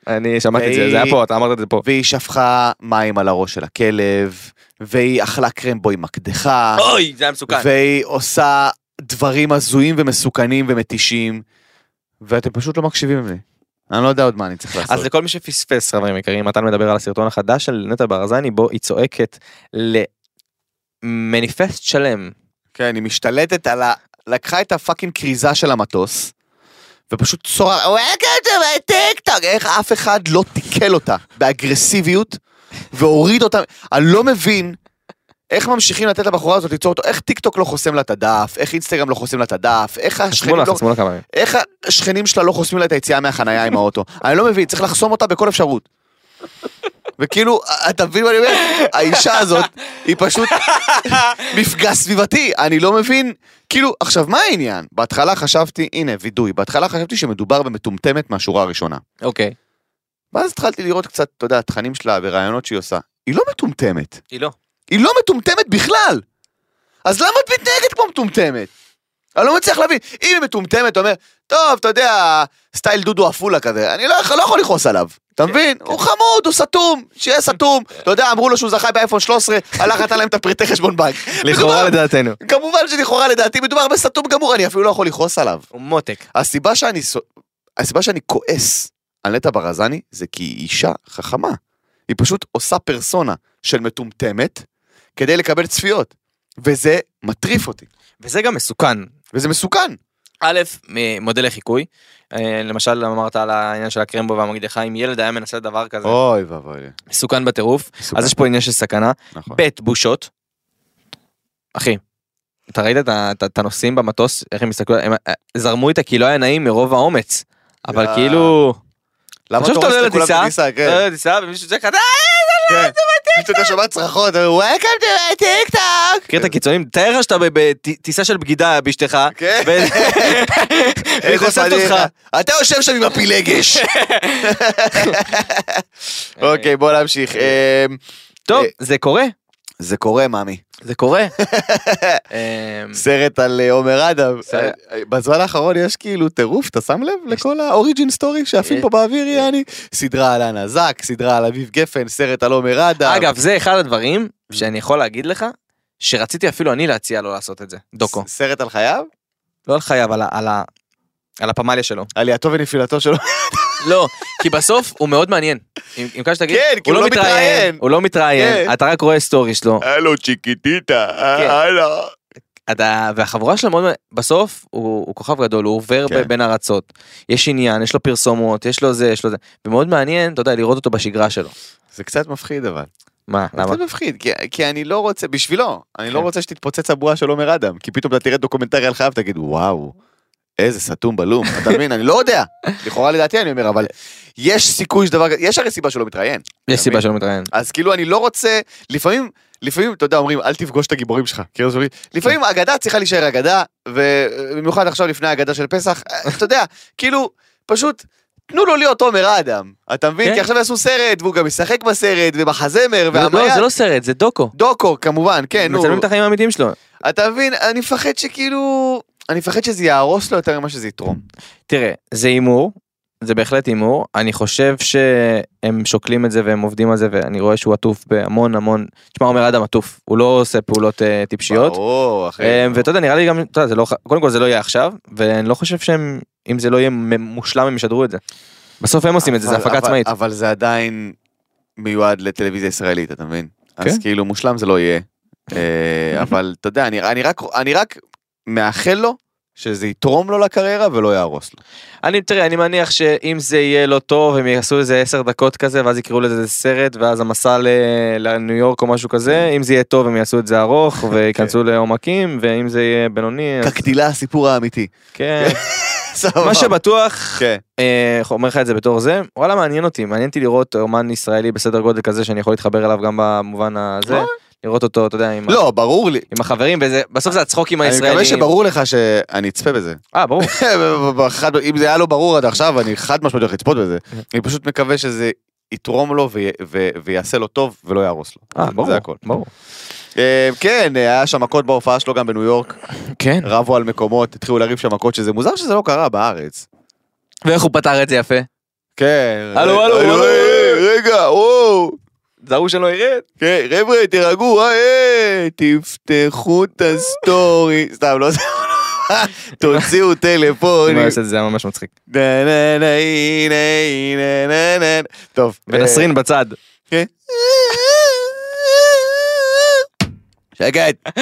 S4: אני שמעתי את זה,
S3: והיא-
S4: זה היה פה, אתה אמרת את זה פה.
S3: והיא שפכה מים על הראש של הכלב, והיא אכלה קרמבו עם מקדחה.
S4: אוי, זה היה מסוכן.
S3: והיא עושה דברים הזויים ומסוכנים ומתישים, ואתם פשוט לא מקשיבים לי. אני לא יודע עוד מה אני צריך לעשות.
S4: אז לכל מי שפספס, חברים יקרים, מתן מדבר על הסרטון החדש של נטע ברזני, בו היא צועקת למניפסט שלם.
S3: כן, היא משתלטת על ה... לקחה את הפאקינג כריזה של המטוס, ופשוט צורה, "אה, Welcome to my TikTok", איך אף אחד לא תיקל אותה באגרסיביות, והוריד אותה, אני לא מבין. איך ממשיכים לתת לבחורה הזאת ליצור אותו, איך טיקטוק לא חוסם לה את הדף, איך אינסטגרם לא חוסם לה את הדף, איך השכנים
S4: חסמו לה,
S3: לא...
S4: חסמו לה כמה ימים.
S3: איך השכנים שלה לא חוסמים לה את היציאה מהחנייה עם האוטו? אני לא מבין, צריך לחסום אותה בכל אפשרות. וכאילו, אתה מבין מה אני אומר? האישה הזאת, היא פשוט מפגע סביבתי, אני לא מבין. כאילו, עכשיו, מה העניין? בהתחלה חשבתי, הנה, וידוי, בהתחלה חשבתי שמדובר במטומטמת מהשורה הראשונה.
S4: אוקיי.
S3: ואז התחלתי לראות קצת, אתה יודע, תכנים שלה ורעיונות שהיא עושה. היא לא מטומטמת.
S4: היא לא.
S3: היא לא מטומטמת בכלל. אז למה את מתנהגת כמו מטומטמת? אני לא מצליח להבין. אם היא מטומטמת, אתה אומר, טוב, אתה יודע, סטייל דודו עפולה כזה, אני לא, יכול- לא יכול לכעוס עליו. אתה מבין? הוא חמוד, הוא סתום, שיהיה סתום. אתה יודע, אמרו לו שהוא זכה באייפון 13, הלך נתן להם את הפרטי חשבון בנק.
S4: לכאורה
S3: מדובר-
S4: לדעתנו.
S3: כמובן שלכאורה לדעתי מדובר בסתום גמור, אני אפילו לא יכול לכעוס עליו.
S4: הוא מותק.
S3: הסיבה שאני, סו- הסיבה שאני כועס על נטע ברזני זה כי היא אישה חכמה. היא פשוט עושה פרסונה של מטומטמת כדי לקבל צפיות. וזה מטריף אותי.
S4: וזה גם מסוכן.
S3: וזה מסוכן.
S4: א', מ- מודל לחיקוי. אה, למשל אמרת על העניין של הקרמבו והמקדחה, אם ילד היה מנסה דבר כזה,
S3: אוי ואבוי. לי.
S4: מסוכן בטירוף,
S3: מסוכן.
S4: אז יש פה עניין של סכנה.
S3: נכון.
S4: ב' בושות. אחי, אתה ראית את ה- את ה- את הנוסעים במטוס, איך הם הסתכלו, הם אה, זרמו איתה כי לא היה נעים מרוב האומץ. אבל
S3: יאה.
S4: כאילו... לא,
S3: למה אתה
S4: עכשיו אתה
S3: הורס
S4: עולה
S3: לכולם את
S4: לטיסה,
S3: הטיסה?
S4: אתה
S3: אה, כן.
S4: יודע, טיסה, ומישהו צועק לך, "אה!"
S3: כן. אתה כן, שומע צרחות, Welcome to my TikTok.
S4: מכיר את הקיצונים? תאר לך שאתה בטיסה של בגידה באשתך.
S3: כן.
S4: ו- והיא
S3: איך
S4: חושפת
S3: עושים
S4: אותך.
S3: לך? אתה יושב שם עם הפילגש. אוקיי, בוא נמשיך. אמ,
S4: טוב,
S3: אה.
S4: זה קורה.
S3: זה קורה, מאמי.
S4: זה קורה. אמ,
S3: סרט על אה, עומר אדם.
S4: סרט.
S3: אה, בזמן האחרון יש כאילו טירוף, אתה שם לב לכל האוריג'ין סטורי
S4: אה,
S3: שעפים פה באוויר, יעני? סדרה על אנה זק, סדרה על אביב גפן, סרט על עומר אדם.
S4: אגב, זה אחד הדברים שאני יכול להגיד לך, שרציתי אפילו אני להציע לו לעשות את זה. דוקו.
S3: ס- סרט על חייו?
S4: לא על חייו, על ה- על ה- על הפמליה שלו.
S3: עלייתו ונפילתו שלו.
S4: לא, כי בסוף הוא מאוד מעניין. אם אם ככה שתגיד,
S3: כן, כי הוא לא מתראיין.
S4: הוא לא מתראיין,
S3: כן.
S4: אתה רק רואה סטורי שלו.
S3: הלו צ'יקיטיטה,
S4: כן.
S3: הלו.
S4: אתה- והחבורה שלו מאוד מעניין. בסוף הוא הוא כוכב גדול, הוא עובר
S3: כן.
S4: ב- בין ארצות. יש עניין, יש לו פרסומות, יש לו זה, יש לו זה. ומאוד מעניין, אתה יודע, לראות אותו בשגרה שלו.
S3: זה קצת מפחיד אבל.
S4: מה, למה?
S3: קצת מפחיד, כי- כי אני לא רוצה, בשבילו, אני לא
S4: כן.
S3: רוצה שתתפוצץ הבועה של עומר אדם, כי פתאום אתה תראה דוקומנטרי על חייו, תגיד, וואו, איזה סתום בלום, אתה מבין? אני לא יודע, לכאורה לדעתי אני אומר, אבל יש סיכוי שדבר כזה, יש הרי סיבה שהוא לא מתראיין.
S4: יש סיבה
S3: מבין?
S4: שלא מתראיין.
S3: אז כאילו אני לא רוצה, לפעמים, לפעמים, אתה יודע, אומרים, אל תפגוש את הגיבורים שלך. כאילו, זה אומרים, לפעמים אגדה צריכה להישאר אגדה, ובמיוחד עכשיו לפני האגדה של פסח, אתה יודע, כאילו, פשוט, תנו לו להיות עומר האדם. אתה מבין?
S5: כן.
S3: כי עכשיו יעשו סרט, והוא גם ישחק בסרט, ומחזמר,
S5: זה- לא,
S3: והמיה...
S5: זה לא סרט, זה דוקו.
S3: דוקו, כמובן, כן, נו.
S4: מצלמים את החיים האמיתיים שלו.
S3: אתה מבין? אני מפחד שכאילו... אני מפחד שזה יהרוס לו יותר ממה שזה יתרום.
S4: תראה, זה הימור, זה בהחלט הימור, אני חושב שהם שוקלים את זה והם עובדים על זה ואני רואה שהוא עטוף בהמון המון, תשמע עומר אדם עטוף, הוא לא עושה פעולות אה, טיפשיות,
S3: ברור, אחי.
S4: אה, ואתה יודע נראה לי גם, אתה יודע, זה לא, ח- קודם כל זה לא יהיה עכשיו, ואני לא חושב שהם, אם זה לא יהיה מ- מושלם הם ישדרו את זה. בסוף הם עושים את זה, זה
S3: אבל-
S4: הפקה
S3: אבל-
S4: עצמאית.
S3: אבל זה עדיין מיועד לטלוויזיה ישראלית, אתה מבין? אז
S4: כן.
S3: כאילו מושלם זה לא יהיה. אה, אבל אתה יודע, אני- אני רק- אני רק מאחל לו שזה יתרום לו לקריירה ולא יהרוס לו.
S4: אני, תראה, אני מניח שאם זה יהיה לא טוב, הם יעשו איזה עשר דקות כזה, ואז יקראו לזה סרט, ואז המסע ל... לניו יורק או משהו כזה,
S3: כן.
S4: אם זה יהיה טוב הם יעשו את זה ארוך, וייכנסו לעומקים, ואם זה יהיה בינוני, אז
S3: כקדילה הסיפור האמיתי.
S4: כן.
S3: סבבה.
S4: מה שבטוח,
S3: כן.
S4: אה, איך אומר לך את זה בתור זה, וואלה מעניין אותי, מעניין אותי לראות אומן ישראלי בסדר גודל כזה שאני יכול להתחבר אליו גם במובן הזה,
S3: אוקיי.
S4: לראות אותו, אתה יודע, עם ה-
S3: לא, ברור לי.
S4: עם החברים, וזה- בסוף זה הצחוקים
S3: אני
S4: הישראלים.
S3: מקווה שברור לך שאני אצפה בזה.
S4: אה, ברור.
S3: חד- אם זה היה לא ברור עד עכשיו, אני חד משמעית הולך לצפות בזה.
S4: כן.
S3: אני פשוט מקווה שזה יתרום לו וי- ו- ויעשה לו טוב ולא יהרוס לו.
S4: אה, ברור.
S3: זה הכל.
S4: ברור.
S3: אה, כן, היה שם מכות בהופעה שלו גם בניו יורק,
S4: כן.
S3: רבו על מקומות, התחילו לריב שם מכות, שזה מוזר שזה לא קרה בארץ.
S5: ואיך הוא פתר את זה יפה?
S3: כן. אה,
S5: הלו, הלו, הלו.
S3: רגע, וואו.
S4: זהו שלא ירד.
S3: כן, חבר'ה, תירגעו, אה, אה, תפתחו את הסטורי. סתם, לא זה... תוציאו
S4: אני
S3: טלפונים.
S4: אעשה את זה, זה היה ממש מצחיק.
S3: נה, נה, נה, נה, נה, נה, נה. טוב. אה,
S4: ונסרין בצד.
S3: כן. שקט.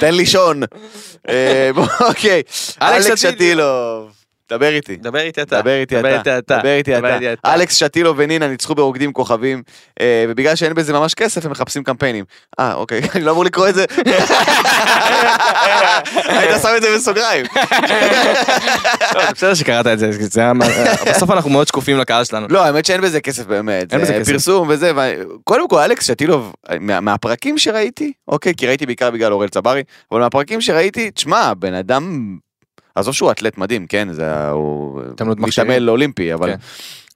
S3: תן לישון. אה, בוא, אוקיי. אלכס
S4: שטילוב.
S3: שטילוב. דבר איתי.
S4: דבר איתי אתה.
S3: דבר איתי אתה. דבר איתי אתה. אלכס שטילו ונינה ניצחו ברוקדים כוכבים, אה, ובגלל שאין בזה ממש כסף הם מחפשים קמפיינים. אה, אוקיי, אני לא אמור לקרוא את זה. היית שם את זה בסוגריים.
S4: טוב, לא, בסדר שקראת את זה, זה היה- בסוף אנחנו מאוד שקופים לקהל שלנו.
S3: לא, האמת שאין בזה כסף באמת.
S4: אין
S3: זה
S4: בזה כסף.
S3: פרסום וזה, ו- קודם כל אלכס שטילוב, מה- מהפרקים שראיתי, אוקיי, כי ראיתי בעיקר בגלל אוראל צברי, אבל מהפרקים שראיתי, תשמע, בן אדם, עזוב שהוא אתלט מדהים, כן, זה ה- הוא
S4: התעמלות מכשירים.
S3: מתעמל אולימפי, אבל...
S4: כן.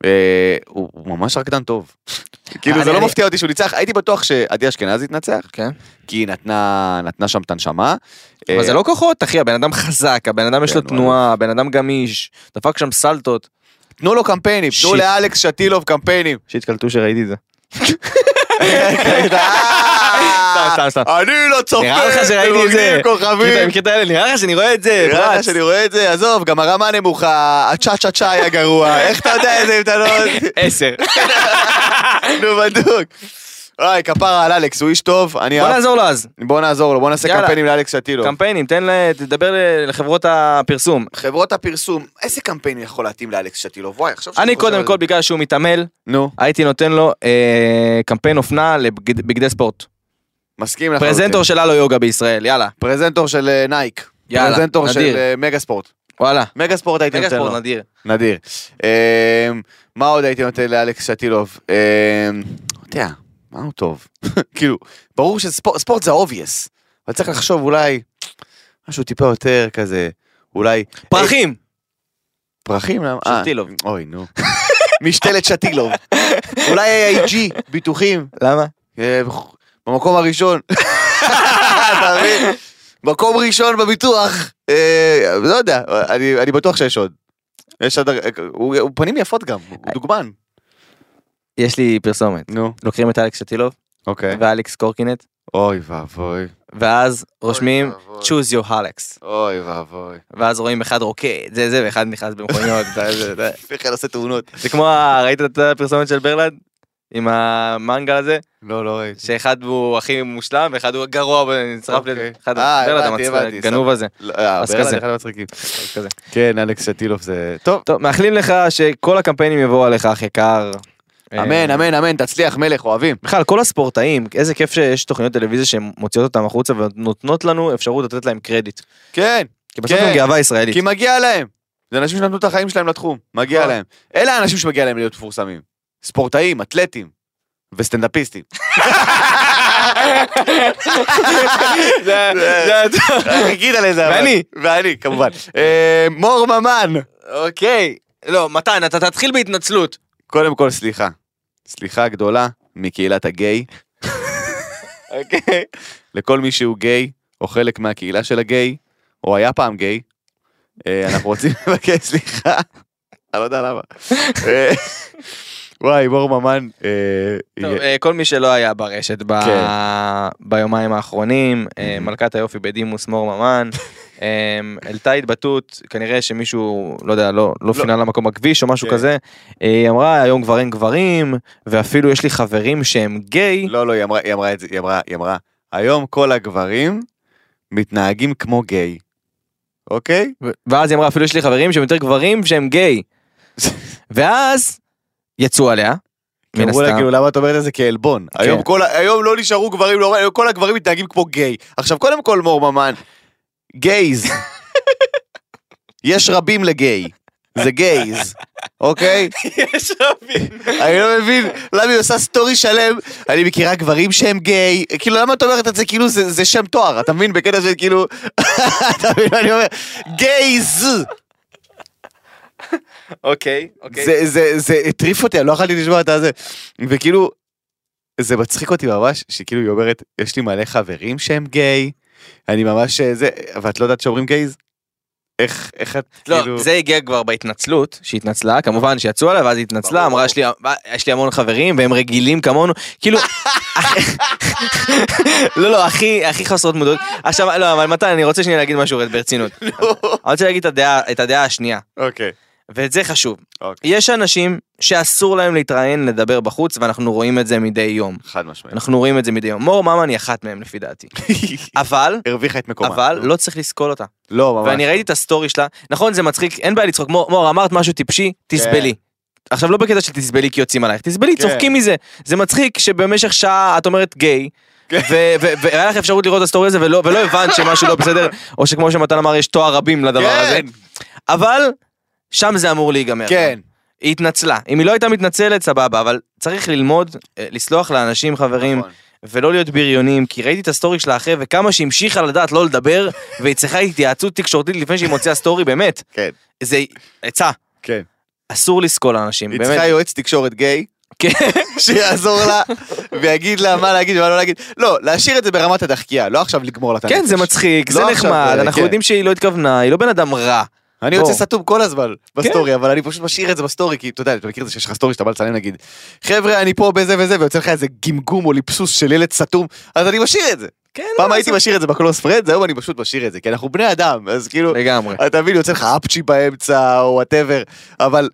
S3: אה, הוא הוא ממש רקדן טוב. כאילו
S4: אני-
S3: זה לא
S4: אני-
S3: מפתיע אותי שהוא ניצח, הייתי בטוח שעדי אשכנזי תנצח,
S4: כן.
S3: כי היא נתנה נתנה שם את הנשמה.
S4: אבל
S3: אה,
S4: זה לא כוחות, אחי, הבן אדם חזק, הבן אדם יש לו
S3: כן,
S4: תנועה, הבן אדם גמיש, דפק שם סלטות.
S3: תנו לו קמפיינים, תנו
S4: שיט.
S3: לאלכס שטילוב קמפיינים.
S4: שהתקלטו שראיתי את זה.
S3: אה,
S4: סתם, סתם.
S3: אני לא צופה,
S4: נראה לך שראיתי את זה.
S3: ברוקדים כוכבים.
S4: מכיר את האלה? נראה לך שאני רואה את זה,
S3: נראה לך שאני רואה את זה, עזוב, גם הרמה נמוכה, הצ'ה צ'ה צ'ה היה גרוע, איך אתה יודע את זה אם אתה לא...
S4: עשר.
S3: נו, בדוק. אוי, כפרה על אלכס, הוא איש טוב, אני
S4: בוא
S3: אהב-
S4: נעזור לו אז.
S3: בוא נעזור לו, בוא נעשה
S4: יאללה.
S3: קמפיינים לאלכס שטילוב.
S4: קמפיינים, תן ל... תדבר ל- לחברות הפרסום.
S3: חברות הפרסום, איזה קמפיין יכול להתאים לאלכס שטילוב? וואי, עכשיו
S4: אני
S3: שאני חושב
S4: קודם
S3: על
S4: כל,
S3: זה.
S4: בגלל שהוא מתעמל,
S3: נו,
S4: הייתי נותן לו אה, קמפיין אופנה לבגדי ספורט.
S3: מסכים לחלוטין.
S4: פרזנטור של הלו יוגה בישראל, יאללה.
S3: פרזנטור של אה, נייק.
S4: יאללה,
S3: פרזנטור של
S4: נדיר.
S3: אה, מגה ספורט.
S4: וואלה.
S3: מגה ספורט הייתי
S4: רגע
S3: נותן לו.
S4: ספורט נדיר.
S3: נדיר. אמ, מה עוד הייתי נותן לאלכס שטילוב? אמ, אתה יודע, מה הוא טוב? כאילו, ברור שספורט זה obvious, אבל צריך לחשוב אולי משהו טיפה יותר כזה, אולי...
S4: פרחים!
S3: פרחים? למה? אה,
S4: שטילוב.
S3: אוי, נו. משתלת שטילוב. אולי AIG, ביטוחים.
S4: למה?
S3: אה, במקום הראשון. אתה מבין? מקום ראשון בביטוח. אה, לא יודע, אני אני בטוח שיש עוד. יש עוד, הוא הוא פנים יפות גם, הוא דוגמן.
S4: יש לי פרסומת.
S3: נו,
S4: לוקחים את אלכס שטילוב
S3: אוקיי.
S4: ואלכס קורקינט,
S3: אוי ואבוי.
S4: ואז רושמים
S3: ואבוי.
S4: choose your אלכס.
S3: אוי ואבוי.
S4: ואז רואים אחד רוקד, זה זה, ואחד נכנס במכוניות. זה- זה- זה.
S3: בכלל עושה תאונות.
S4: זה כמו, ה- ראית את הפרסומת של ברלנד? עם המנגה הזה?
S3: לא, לא ראיתי.
S4: שאחד הוא הכי מושלם ואחד הוא גרוע ונצרף
S3: אוקיי.
S4: לזה. אחד
S3: אה,
S4: ברלנד
S3: הבנתי,
S4: המצחיק,
S3: הבנתי,
S4: הגנוב הזה.
S3: לא, אה,
S4: אז
S3: ברלנד
S4: כזה.
S3: אחד המצחיקים.
S4: אז כזה.
S3: כן, אלכס שטילוב זה... טוב.
S4: טוב, מאחלים לך שכל הקמפיינים יבואו עליך, אח יקר.
S3: אמן,
S4: אה,
S3: אמן, אמן, תצליח, מלך, אוהבים.
S4: בכלל, כל הספורטאים, איזה כיף שיש תוכניות טלוויזיה שהן מוציאות אותם החוצה ונותנות לנו אפשרות לתת להם קרדיט.
S3: כן,
S4: כי בסוף
S3: כן.
S4: הם גאווה ישראלית.
S3: כי מגיע להם. זה אנשים שנתנו את החיים שלהם לתחום, מגיע
S4: נכון.
S3: להם. אלה האנשים שמגיע להם להיות מפורסמים. ספורטאים, אתלטים וסטנדאפיסטים.
S4: זה- זה-
S3: נגיד על איזה...
S4: ואני.
S3: ואני, כמובן. אה, מור ממן.
S4: אוקיי.
S5: לא, מתן, אתה תתחיל בהתנצלות.
S3: קודם כל, סליחה. סליחה גדולה מקהילת הגיי.
S4: אוקיי.
S3: לכל מי שהוא גיי, או חלק מהקהילה של הגיי, או היה פעם גיי, אה, אנחנו רוצים לבקש סליחה. אני לא יודע למה. אה, וואי, מור ממן. אה,
S4: טוב, אה, כל מי שלא היה ברשת ב-
S3: כן.
S4: ביומיים האחרונים, אה, מלכת היופי בדימוס מור ממן, אה, העלתה התבטאות, כנראה שמישהו, לא יודע, לא לא פינה לה מקום בכביש או משהו
S3: כן.
S4: כזה, אה, היא אמרה היום כבר אין גברים, ואפילו יש לי חברים שהם גיי,
S3: לא, לא, היא אמרה, היא אמרה את זה, היא אמרה, היא אמרה, היום כל הגברים מתנהגים כמו גיי, אוקיי?
S4: ו- ואז היא אמרה אפילו יש לי חברים שהם יותר גברים שהם גיי, ואז יצאו עליה, מן
S3: אמרו לה,
S4: הסתם. כן.
S3: כאילו, למה את אומרת את זה כעלבון? היום כל ה- היום לא נשארו גברים, לא- היום כל הגברים מתנהגים כמו גיי. עכשיו, קודם כל, מור ממן, גייז. יש רבים לגיי. זה גייז, אוקיי?
S4: יש רבים.
S3: אני לא מבין למה היא עושה סטורי שלם, אני מכירה גברים שהם גיי, כאילו למה את אומרת את זה כאילו זה זה שם תואר, אתה מבין? בקטע של כאילו, אתה מבין מה אני אומר? גייז!
S4: אוקיי, אוקיי.
S3: זה, זה, זה הטריף אותי, אני לא יכולתי לשמוע את הזה. וכאילו, זה מצחיק אותי ממש, שכאילו היא אומרת, יש לי מלא חברים שהם גיי, אני ממש אה, זה, ואת לא יודעת שאומרים גייז? איך, איך את,
S4: לא,
S3: כאילו...
S4: זה הגיע כבר בהתנצלות, שהתנצלה, כמובן שיצאו עליה, ואז היא התנצלה,
S3: ברור,
S4: אמרה, "יש לי- יש לי המון חברים, והם רגילים כמונו, כאילו... לא, לא, הכי, הכי חסרות מודעות. עכשיו, לא, אבל מתן, אני רוצה שנייה להגיד משהו ברצינות. אני רוצה להגיד את הדעה, את הדעה השנייה,
S3: אוקיי.
S4: ואת זה חשוב.
S3: אוקיי.
S4: יש אנשים שאסור להם להתראיין, לדבר בחוץ, ואנחנו רואים את זה מדי יום.
S3: חד משמעית.
S4: אנחנו רואים את זה מדי יום. מור ממן היא אחת מהם, לפי דעתי. אבל...
S3: הרוויחה את מקומה.
S4: אבל לא צריך לסקול אותה.
S3: לא, ממש.
S4: ואני ראיתי את הסטורי שלה, נכון זה מצחיק, אין בעיה לצחוק, מור, מור אמרת משהו טיפשי, תסבלי. עכשיו לא בקטע של תסבלי כי יוצאים עלייך, תסבלי,
S3: כן.
S4: צוחקים מזה. זה מצחיק שבמשך שעה את אומרת גיי,
S3: כן.
S4: ו- ו- והיה לך אפשרות לראות את הסטורי הזה ולא ולא הבנת שמשהו לא בסדר, או שכמו שמתן אמר יש תואר רבים לדבר הזה,
S3: כן,
S4: אבל שם זה אמור להיגמר.
S3: כן.
S4: היא התנצלה, אם היא לא הייתה מתנצלת סבבה, אבל צריך ללמוד, אה, לסלוח לאנשים חברים,
S3: נכון.
S4: ולא להיות בריונים, כי ראיתי את הסטורי שלה אחרי, וכמה שהמשיכה לדעת לא לדבר, והיא צריכה התייעצות תקשורתית לפני שהיא מוציאה סטורי, באמת.
S3: כן.
S4: זה עצה.
S3: כן.
S4: אסור לסקול אנשים,
S3: היא
S4: באמת.
S3: צריכה יועץ תקשורת גיי.
S4: כן.
S3: שיעזור לה ויגיד לה מה להגיד ומה לא להגיד. לא, להשאיר את זה ברמת הדחקייה, לא עכשיו לגמור לה את הנפש.
S4: כן, זה מצחיק,
S3: לא
S4: זה
S3: עכשיו,
S4: נחמד,
S3: אה,
S4: אנחנו
S3: כן.
S4: יודעים שהיא לא התכוונה, היא לא בן אדם רע.
S3: אני
S4: בוא. כן.
S3: יוצא סתום כל הזמן בסטורי, אבל אני פשוט משאיר את זה בסטורי, כי אתה יודע, אתה מכיר את זה שיש לך סטורי שאתה בא לצלם נגיד, חבר'ה, אני פה בזה וזה, ויוצא לך איזה גמגום או ליפסוס של ילד סתום, אז אני משאיר את זה.
S4: כן,
S3: פעם
S4: לא,
S3: הייתי
S4: זה-
S3: משאיר את זה בקלוס פרנדס, היום אני פשוט משאיר את זה, כי אנחנו בני אדם, אז כאילו,
S4: לגמרי.
S3: אתה מבין, יוצא לך אפצ'י באמצע, או וואטאבר, אבל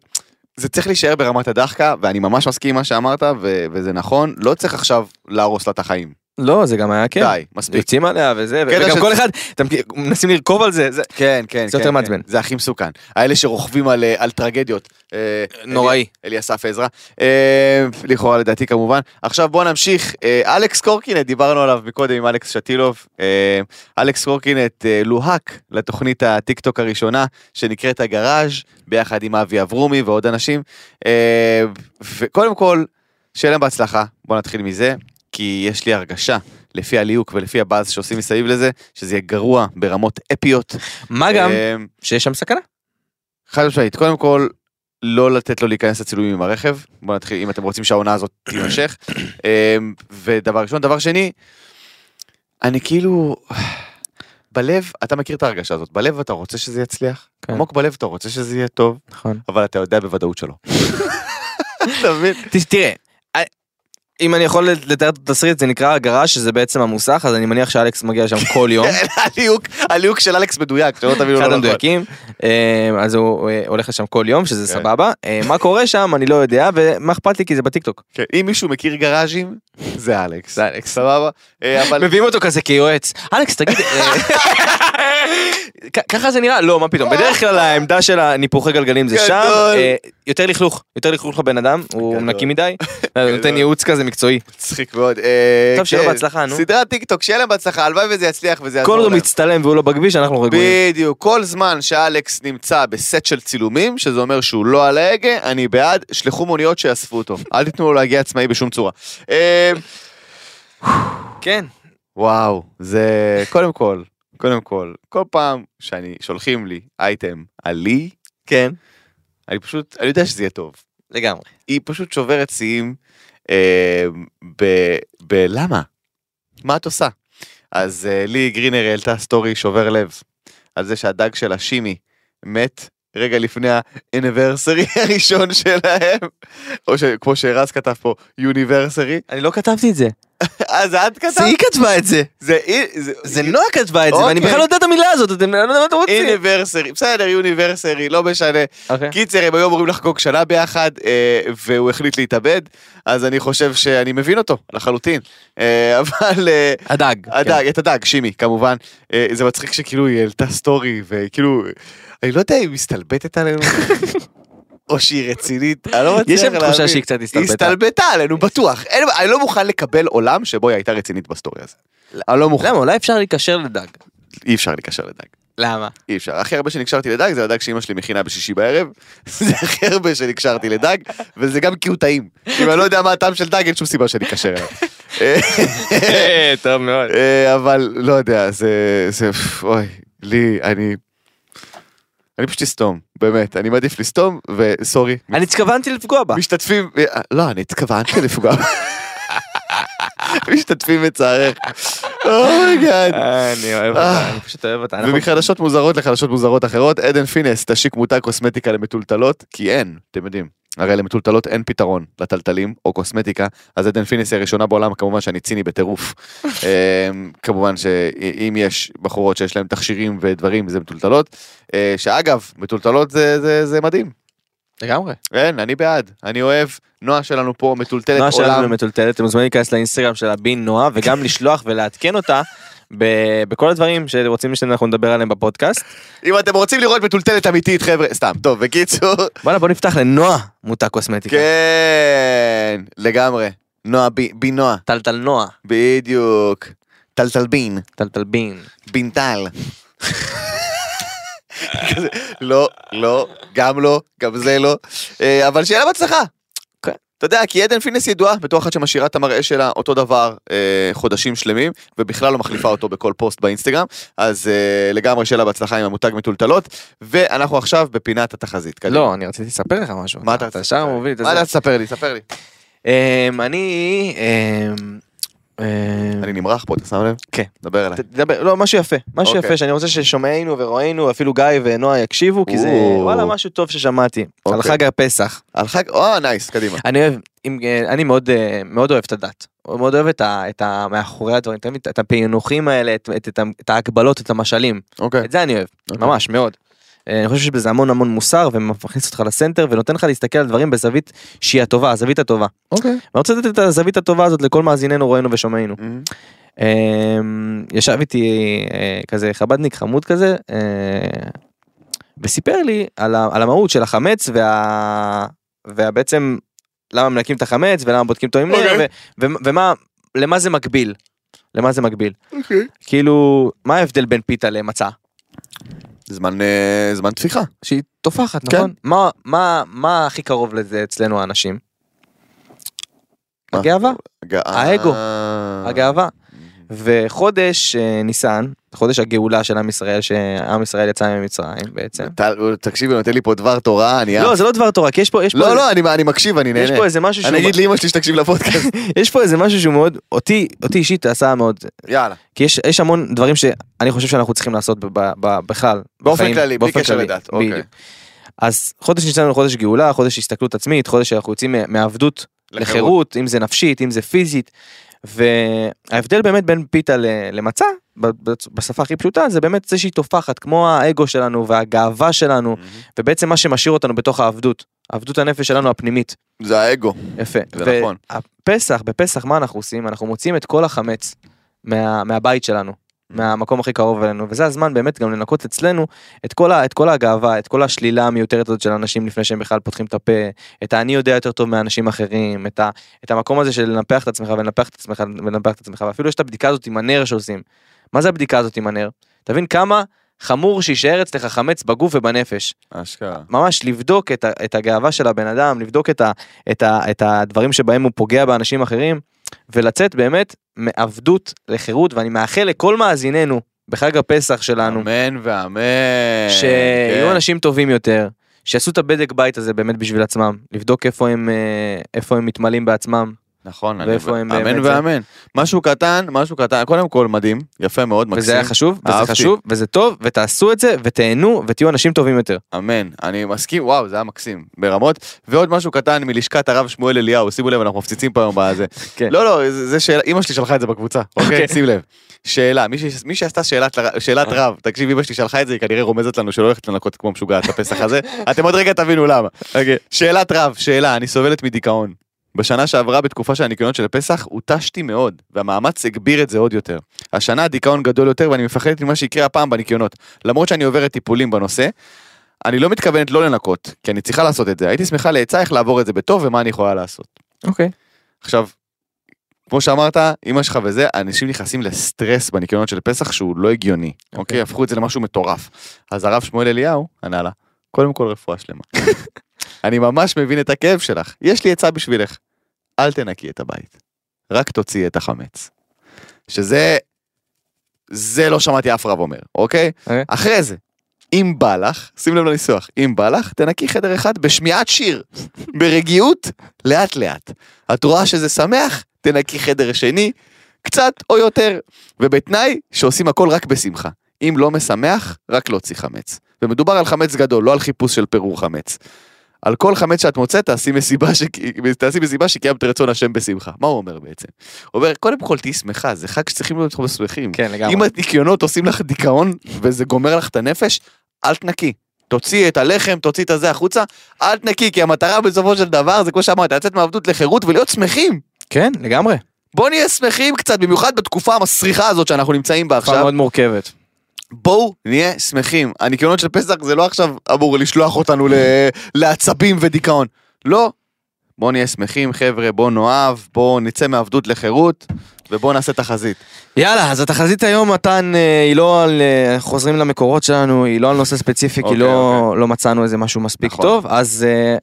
S3: זה צריך להישאר ברמת הדחקה, ואני ממש מסכים עם מה שאמרת, ו- וזה נכון, לא צריך עכשיו להרוס לה את החיים.
S4: לא, זה גם היה כיף.
S3: די, מספיק.
S4: יוצאים עליה וזה, ו-
S3: קטע
S4: וגם
S3: של-
S4: כל אחד, אתם מכיר- מנסים לרכוב על זה, זה
S3: כן, כן,
S4: זה
S3: כן,
S4: יותר
S3: כן.
S4: מעצבן.
S3: זה הכי מסוכן. האלה שרוכבים על, אה, על טרגדיות. אה,
S4: נוראי.
S3: אלי אסף עזרא, אה, לכאורה לדעתי כמובן. עכשיו בואו נמשיך, אה, אלכס קורקינט, דיברנו עליו מקודם עם אלכס שטילוב. אה, אלכס קורקינט אה, לוהק לתוכנית הטיק טוק הראשונה, שנקראת הגראז', ביחד עם אבי אברומי ועוד אנשים. אה, וקודם כל, שיהיה להם בהצלחה, בואו נתחיל מזה, כי יש לי הרגשה, לפי הליהוק ולפי הבאז שעושים מסביב לזה, שזה יהיה גרוע ברמות אפיות.
S4: מה גם
S3: אה,
S4: שיש שם סכנה.
S3: חד משמעית, קודם כל, לא לתת לו להיכנס לצילומים עם הרכב. בוא נתחיל, אם אתם רוצים שהעונה הזאת תימשך. אמ, ודבר ראשון, דבר שני, אני כאילו, בלב, אתה מכיר את ההרגשה הזאת, בלב אתה רוצה שזה יצליח,
S4: כן.
S3: עמוק בלב אתה רוצה שזה יהיה טוב,
S4: נכון.
S3: אבל אתה יודע בוודאות שלא. אתה מבין?
S4: ת- תראה, אה, אם אני יכול לתאר את התסריט, זה נקרא הגרש, שזה בעצם המוסך, אז אני מניח שאלכס מגיע שם כל
S3: כן,
S4: יום.
S3: הליהוק, הליהוק של אלכס מדויק, שלא תבינו
S4: אחד
S3: לא נכון.
S4: המדויקים, אה, אז הוא אה, הולך לשם כל יום, שזה
S3: כן.
S4: סבבה. אה, מה קורה שם, אני לא יודע, ומה אכפת לי כי זה בטיקטוק.
S3: כן, אם מישהו מכיר גראז'ים, זה אלכס.
S4: זה אלכס.
S3: סבבה? אה, אבל...
S4: מביאים אותו כזה כיועץ. אלכס, תגיד, אה, כ- ככה זה נראה? לא, מה פתאום. בדרך כלל העמדה של הניפוחי גלגלים זה שם.
S3: גדול.
S4: אה, יותר לכלוך, יותר לכלוך לבן אדם, הוא
S3: גדול.
S4: נקי מדי. אה, נותן ייעוץ כזה מקצועי.
S3: מצחיק מאוד. אה,
S4: טוב, שיהיה
S3: כן.
S4: בהצלחה, נו.
S3: סדרת טיקטוק, שיהיה להם בהצלחה, הלוואי וזה יצליח וזה יעזור
S4: כל עוד הוא
S3: להם.
S4: מצטלם והוא לא בכביש, אנחנו רגועים.
S3: בדיוק, כל זמן שאלכס נמצא בסט של צילומים, שזה אומר שהוא לא על ההגה, אני בעד, שלחו מוניות שיאספו אותו. אל תיתנו לו להגיע עצמאי בשום צורה. אה,
S4: כן.
S3: וואו, זה קודם כל, קודם כל, כל פעם שאני, שולחים לי אייטם עלי,
S4: כן.
S3: אני פשוט, אני יודע שזה יהיה טוב.
S4: לגמרי.
S3: היא פשוט שוברת שיאים אה, ב- בלמה? מה את עושה? אז אה, לי גרינר העלתה סטורי שובר לב על זה שהדג שלה שימי מת רגע לפני האניברסרי הראשון שלהם, או שכמו שרז כתב פה, יוניברסרי,
S4: אני לא כתבתי את זה.
S3: אז את כתבת?
S4: היא כתבה את זה.
S3: זה אי- זה-
S4: זה נועה כתבה את זה,
S3: אוקיי.
S4: ואני בכלל לא יודע את המילה הזאת, אתם לא יודעים מה אתם רוצים.
S3: אוניברסרי, אוקיי. בסדר, יוניברסרי, לא משנה.
S4: אוקיי.
S3: קיצר, הם היו אמורים לחגוג שנה ביחד, אה, והוא החליט להתאבד, אז אני חושב שאני מבין אותו לחלוטין. אה, אבל אה,
S4: הדג. כן.
S3: הדג, את הדג, שימי, כמובן. אה, זה מצחיק שכאילו היא העלתה סטורי, וכאילו, אני לא יודע אם היא מסתלבטת עלינו. או שהיא רצינית, אני לא מצליח להבין.
S4: יש שם תחושה שהיא קצת
S3: היא
S4: הסתלבטה.
S3: הסתלבטה עלינו, בטוח. אין- אני לא מוכן לקבל עולם שבו היא הייתה רצינית בסטורי הזה. אני לא מוכן.
S4: למה? אולי אפשר להיקשר לדג.
S3: אי אפשר לקשר לדג.
S4: למה?
S3: אי אפשר. הכי הרבה שנקשרתי לדג זה הדג שאימא שלי מכינה בשישי בערב. זה הכי הרבה שנקשרתי לדג, וזה גם כי הוא טעים. אם אני לא יודע מה הטעם של דג, אין שום סיבה שאני אקשר אליו.
S4: טוב מאוד.
S3: אה, אבל לא יודע, זה... זה... אוי, לי, אני... אני פשוט אסתום, באמת. אני מעדיף לסתום, וסורי.
S4: אני התכוונתי לפגוע בה.
S3: משתתפים... אה, לא, אני התכוונתי לפגוע. משתתפים בצערך. Oh אומייגאד.
S4: אני אוהב
S3: אותה, אני
S4: פשוט אוהב אותה.
S3: ומחדשות מוזרות לחדשות מוזרות אחרות, עדן פינס תשיק מותג קוסמטיקה למטולטלות, כי אין, אתם יודעים. הרי למטולטלות אין פתרון לטלטלים או קוסמטיקה, אז עדן פינס היא הראשונה בעולם, כמובן שאני ציני בטירוף. אמ, כמובן שאם יש בחורות שיש להן תכשירים ודברים, זה מטולטלות. אה, שאגב, מטולטלות זה- זה זה מדהים.
S4: לגמרי.
S3: אין, אני בעד, אני אוהב. נועה שלנו פה
S4: נועה
S3: מטולטלת
S4: שלנו
S3: עולם.
S4: מטולטלת, אתם מוזמנים להיכנס לאינסטגרם של הבין נועה, וגם לשלוח ולעדכן אותה. ב- בכל הדברים שרוצים שאנחנו נדבר עליהם בפודקאסט.
S3: אם אתם רוצים לראות מטולטלת אמיתית, חבר'ה, סתם, טוב, בקיצור.
S4: וואלה בוא נפתח לנועה מותג קוסמטיקה.
S3: כן, לגמרי. נועה, בי בי נועה.
S4: טלטל נועה,
S3: בדיוק. טלטל בין,
S4: טלטל בין.
S3: בינטל. כזה, לא, לא, גם לא, גם זה לא. אה, אבל שיהיה לה בהצלחה.
S4: כן.
S3: אתה יודע, כי עדן פינס ידועה בתור אחת שמשאירה את המראה שלה אותו דבר אה, חודשים שלמים, ובכלל לא מחליפה אותו בכל פוסט באינסטגרם, אז אה, לגמרי שיהיה לה בהצלחה עם המותג מטולטלות, ואנחנו עכשיו בפינת התחזית. קדימה.
S4: לא, אני רציתי לספר לך משהו.
S3: מה אתה
S4: אתה שם מוביל את
S3: מה אתה
S4: זה.
S3: תספר לי? ספר לי.
S4: אמ, אני... אמ, אמ,
S3: אני נמרח פה, אתה שם לב?
S4: כן.
S3: דבר אליי.
S4: תדבר, לא, משהו יפה, משהו
S3: אוקיי.
S4: יפה שאני רוצה ששומעינו ורואינו, אפילו גיא ונועה יקשיבו, כי זה
S3: או.
S4: וואלה משהו טוב ששמעתי, על
S3: אוקיי.
S4: חג הפסח.
S3: על חג, או, נייס, קדימה.
S4: אני אוהב, אם, אה, אני מאוד אה, מאוד אוהב את הדת, מאוד אוהב את ה... את ה... מאחורי הדברים, אתה מבין? את הפענוחים האלה, את- את- את ה- את ההגבלות, את המשלים,
S3: אוקיי.
S4: את זה אני אוהב,
S3: אוקיי.
S4: ממש, מאוד. אה, אני חושב שבזה המון המון מוסר ומכניס אותך לסנטר ונותן לך להסתכל על דברים בזווית שהיא הטובה, הזווית הטובה.
S3: אוקיי.
S4: אני רוצה לתת את הזווית הטובה הזאת לכל מאזיננו, רואינו ושומעינו. אמ, ישב איתי אה, כזה חבדניק חמוד כזה אה, וסיפר לי על, ה, על המהות של החמץ וה, ובעצם למה מנקים את החמץ ולמה בודקים אותו עם נר
S3: אוקיי.
S4: ו, ו, ומה למה זה מקביל. למה זה מקביל?
S3: אוקיי.
S4: כאילו מה ההבדל בין פיתה למצה?
S3: זמן, אה, זמן תפיחה.
S4: שהיא תופחת
S3: כן.
S4: נכון? מה, מה, מה הכי קרוב לזה אצלנו האנשים?
S3: מה?
S4: הגאווה.
S3: הג-
S4: האגו.
S3: אה.
S4: הגאווה. וחודש אה, ניסן, חודש הגאולה של עם ישראל, שעם ישראל יצא ממצרים בעצם.
S3: טל, תקשיבי, נותן לי פה דבר תורה, אני... אה-
S4: לא, זה לא דבר תורה, כי יש פה, יש פה,
S3: לא, לא, אני- אני מקשיב, אני
S4: יש
S3: נהנה.
S4: פה איזה משהו שהוא,
S3: אני אגיד לאמא שלי שתקשיב לפודקאסט.
S4: יש פה איזה משהו שהוא מאוד, אותי, אותי אישית עשה מאוד,
S3: יאללה.
S4: כי יש, יש המון דברים שאני חושב שאנחנו צריכים לעשות ב- ב- ב- בכלל.
S3: באופן
S4: בחיים,
S3: כללי, בלי קשר לדת, אוקיי.
S4: בדיוק. אז חודש ניסן הוא חודש גאולה, חודש הסתכלות עצמית, חודש שאנחנו יוצאים מה- מעבדות
S3: לחירות.
S4: לחירות, אם זה נפשית, אם זה פיזית. וההבדל באמת בין פיתה ל- למצה, ב- ב- בשפה הכי פשוטה, זה באמת זה שהיא טופחת, כמו האגו שלנו והגאווה שלנו, ובעצם מה שמשאיר אותנו בתוך העבדות, עבדות הנפש שלנו הפנימית.
S3: זה האגו.
S4: יפה.
S3: זה נכון.
S4: והפסח, בפסח מה אנחנו עושים? אנחנו מוציאים את כל החמץ מה, מהבית שלנו. מהמקום הכי קרוב אלינו, וזה הזמן באמת גם לנקות אצלנו את כל, ה, את כל הגאווה, את כל השלילה המיותרת הזאת של אנשים לפני שהם בכלל פותחים את הפה, את האני יודע יותר טוב מאנשים אחרים, את, ה, את המקום הזה של לנפח את עצמך ולנפח את עצמך ולנפח את עצמך, ואפילו יש את הבדיקה הזאת עם הנר שעושים. מה זה הבדיקה הזאת עם הנר? תבין כמה חמור שיישאר אצלך חמץ בגוף ובנפש.
S3: אשכרה.
S4: ממש לבדוק את, ה, את הגאווה של הבן אדם, לבדוק את, ה, את, ה, את הדברים שבהם הוא פוגע באנשים אחרים, ולצאת באמת מעבדות לחירות, ואני מאחל לכל מאזיננו בחג הפסח שלנו,
S3: אמן ואמן.
S4: שיהיו
S3: כן.
S4: אנשים טובים יותר, שיעשו את הבדק בית הזה באמת בשביל עצמם, לבדוק איפה הם, אה, איפה הם מתמלאים בעצמם.
S3: נכון, אני-
S4: ואיפה הם
S3: אמן
S4: באמת זה?
S3: ואמן. משהו קטן, משהו קטן, קודם כל מדהים, יפה מאוד, מקסים.
S4: וזה היה חשוב, וזה
S3: אהבתי.
S4: חשוב, וזה טוב, ותעשו את זה, ותהנו, ותהיו אנשים טובים יותר.
S3: אמן, אני מסכים, וואו, זה היה מקסים, ברמות. ועוד משהו קטן מלשכת הרב שמואל אליהו, שימו לב, אנחנו מפציצים פה היום בזה.
S4: כן.
S3: לא, לא, זה זה שאלה, אמא שלי שלחה את זה בקבוצה, אוקיי? שים לב. שאלה, מי ש- מי שעשתה שאלת ל- שאלת רב, תקשיב, אמא שלי שלחה את זה, היא כנראה רומזת לנו שלא הולכת לנקות כמו משוגעת הפסח הזה, אתם עוד רגע תבינו למה. שאלת רב, שאלה, אני סובלת מדיכאון. בשנה שעברה בתקופה של הניקיונות של הפסח, הותשתי מאוד, והמאמץ הגביר את זה עוד יותר. השנה הדיכאון גדול יותר ואני מפחדת ממה שיקרה הפעם בניקיונות. למרות שאני עוברת טיפולים בנושא, אני לא מתכוונת לא לנקות, כי אני צריכה לעשות את זה. הייתי שמחה לעצה איך לעבור את זה בטוב ומה אני יכולה לעשות.
S4: אוקיי.
S3: עכשיו, כמו שאמרת, אמא שלך וזה, אנשים נכנסים לסטרס בניקיונות של פסח שהוא לא הגיוני. אוקיי? הפכו את זה למשהו מטורף. אז הרב שמואל אליהו ענה לה, קודם כל רפואה שלמה. אני ממש מבין את הכאב שלך, יש לי עצה בשבילך. אל תנקי את הבית, רק תוציאי את החמץ. שזה, זה לא שמעתי אף רב אומר, אוקיי?
S4: אוקיי.
S3: אחרי זה, אם בא לך, שים לב לניסוח, אם בא לך, תנקי חדר אחד בשמיעת שיר, ברגיעות, לאט לאט. את רואה שזה שמח, תנקי חדר שני, קצת או יותר, ובתנאי שעושים הכל רק בשמחה. אם לא משמח, רק להוציא חמץ. ומדובר על חמץ גדול, לא על חיפוש של פירור חמץ. על כל חמץ שאת מוצאת, תעשי מסיבה, ש... תעשי מסיבה שקיימת רצון השם בשמחה. מה הוא אומר בעצם? הוא אומר, קודם כל תהיי שמחה, זה חג שצריכים להיות לך שמחים.
S4: כן, לגמרי.
S3: אם הניקיונות עושים לך דיכאון וזה גומר לך את הנפש, אל תנקי. תוציאי את הלחם, תוציאי את הזה החוצה, אל תנקי, כי המטרה בסופו של דבר זה כמו שאמרת, לצאת מעבדות לחירות ולהיות שמחים.
S4: כן, לגמרי.
S3: בואו נהיה שמחים קצת, במיוחד בתקופה המסריחה הזאת שאנחנו נמצאים בה
S4: תקופה
S3: עכשיו.
S4: מאוד מורכבת.
S3: בואו נהיה שמחים. הניקיונות של פסח זה לא עכשיו אמור לשלוח אותנו ל... לעצבים ודיכאון. לא. בואו נהיה שמחים, חבר'ה, בואו נאהב, בואו נצא מעבדות לחירות, ובואו נעשה תחזית.
S4: יאללה, אז התחזית היום, מתן, אה, היא לא על... אה, חוזרים למקורות שלנו, היא לא על נושא ספציפי, כי
S3: אוקיי,
S4: לא לא מצאנו איזה משהו מספיק
S3: נכון.
S4: טוב, אז אה,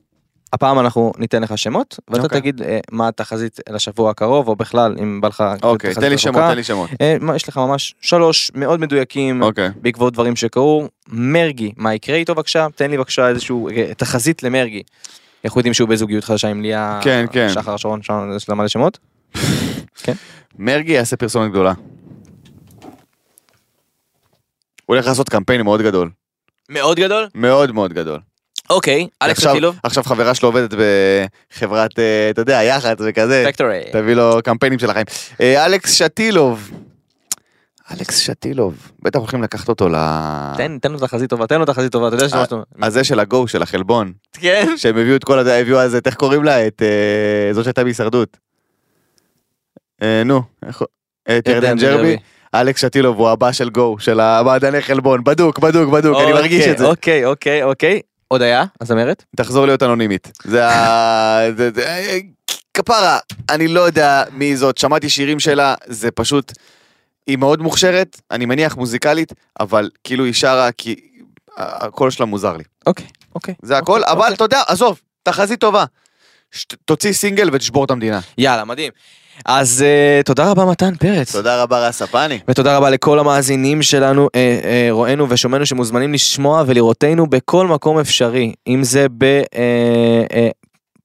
S4: הפעם אנחנו ניתן לך שמות, ואתה
S3: אוקיי.
S4: תגיד אה, מה התחזית לשבוע הקרוב, או בכלל, אם בא לך...
S3: אוקיי,
S4: תחזית
S3: תן לי
S4: רחוקה.
S3: שמות, תן לי שמות.
S4: אה, מה, יש לך ממש שלוש מאוד מדויקים
S3: אוקיי.
S4: בעקבות דברים שקרו. מרגי, מה יקרה איתו בבקשה? תן לי בבקשה איזשהו אה, תחזית למרגי. אנחנו יודעים שהוא בזוגיות חדשה עם ליה...
S3: כן, כן.
S4: שחר שרון, שרון, יש לה מלא שמות?
S3: מרגי יעשה פרסומת גדולה. הוא הולך לעשות קמפיין מאוד גדול.
S5: מאוד גדול?
S3: מאוד מאוד גדול.
S5: אוקיי, אלכס
S3: עכשיו-
S5: אטילוב?
S3: עכשיו חברה שלו עובדת בחברת, אה, אתה יודע, יח"צ וכזה.
S5: פקטורי.
S3: תביא לו קמפיינים של החיים. אה, אלכס שטילוב. אלכס שטילוב. בטח הולכים לקחת אותו ל...
S4: תן תן לו תחזית טובה, תן לו תחזית טובה, אתה יודע שאתה...
S3: הזה של הגו, של החלבון.
S5: כן?
S3: שהם הביאו את כל הזה, הביאו אז את, איך קוראים לה? את אה, זו שהייתה בהישרדות. אה, נו, איך... הוא-
S4: כן,
S3: את ירדן ג'רבי. אלכס שטילוב הוא הבא של גו, של המעדני חלבון, בדוק, בדוק, בדוק, אני מרגיש את זה.
S4: אוקיי, אוקיי, אוקיי. הודיה, הזמרת?
S3: תחזור להיות אנונימית. זה ה... זה- זה- כפרה, אני לא יודע מי זאת, שמעתי שירים שלה, זה פשוט... היא מאוד מוכשרת, אני מניח מוזיקלית, אבל כאילו היא שרה כי הקול שלה מוזר לי.
S4: אוקיי, אוקיי.
S3: זה הכל, אבל אתה יודע, עזוב, תחזית טובה. שת- תוציא סינגל ותשבור את המדינה.
S4: יאללה, מדהים. אז אה, תודה רבה מתן פרץ.
S3: תודה רבה רס הפני.
S4: ותודה רבה לכל המאזינים שלנו, אה, אה, רואינו ושומענו שמוזמנים לשמוע ולראותנו בכל מקום אפשרי, אם זה ב... אה, אה,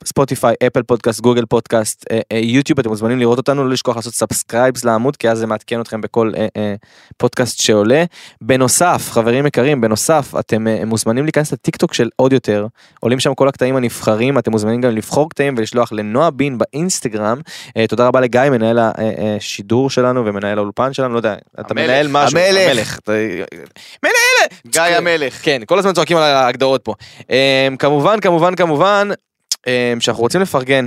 S4: ספוטיפיי, אפל פודקאסט, גוגל פודקאסט, אה, אה, יוטיוב, אתם מוזמנים לראות אותנו, לא לשכוח לעשות סאבסקרייבס לעמוד, כי אז זה מעדכן אתכם בכל אה, אה, פודקאסט שעולה. בנוסף, חברים יקרים, בנוסף, אתם אה, מוזמנים להיכנס לטיק טוק של עוד יותר, עולים שם כל הקטעים הנבחרים, אתם מוזמנים גם לבחור קטעים ולשלוח לנועה בין באינסטגרם. אה, תודה רבה לגיא, מנהל השידור שלנו ומנהל האולפן שלנו, לא יודע, אתה
S3: המלך,
S4: מנהל משהו.
S3: המלך.
S4: אתה-
S3: גיא המלך.
S4: כן, כל הזמן צועקים על ההגדרות פה. אמ, כמובן, כמובן, כמובן, אמ, שאנחנו רוצים לפרגן.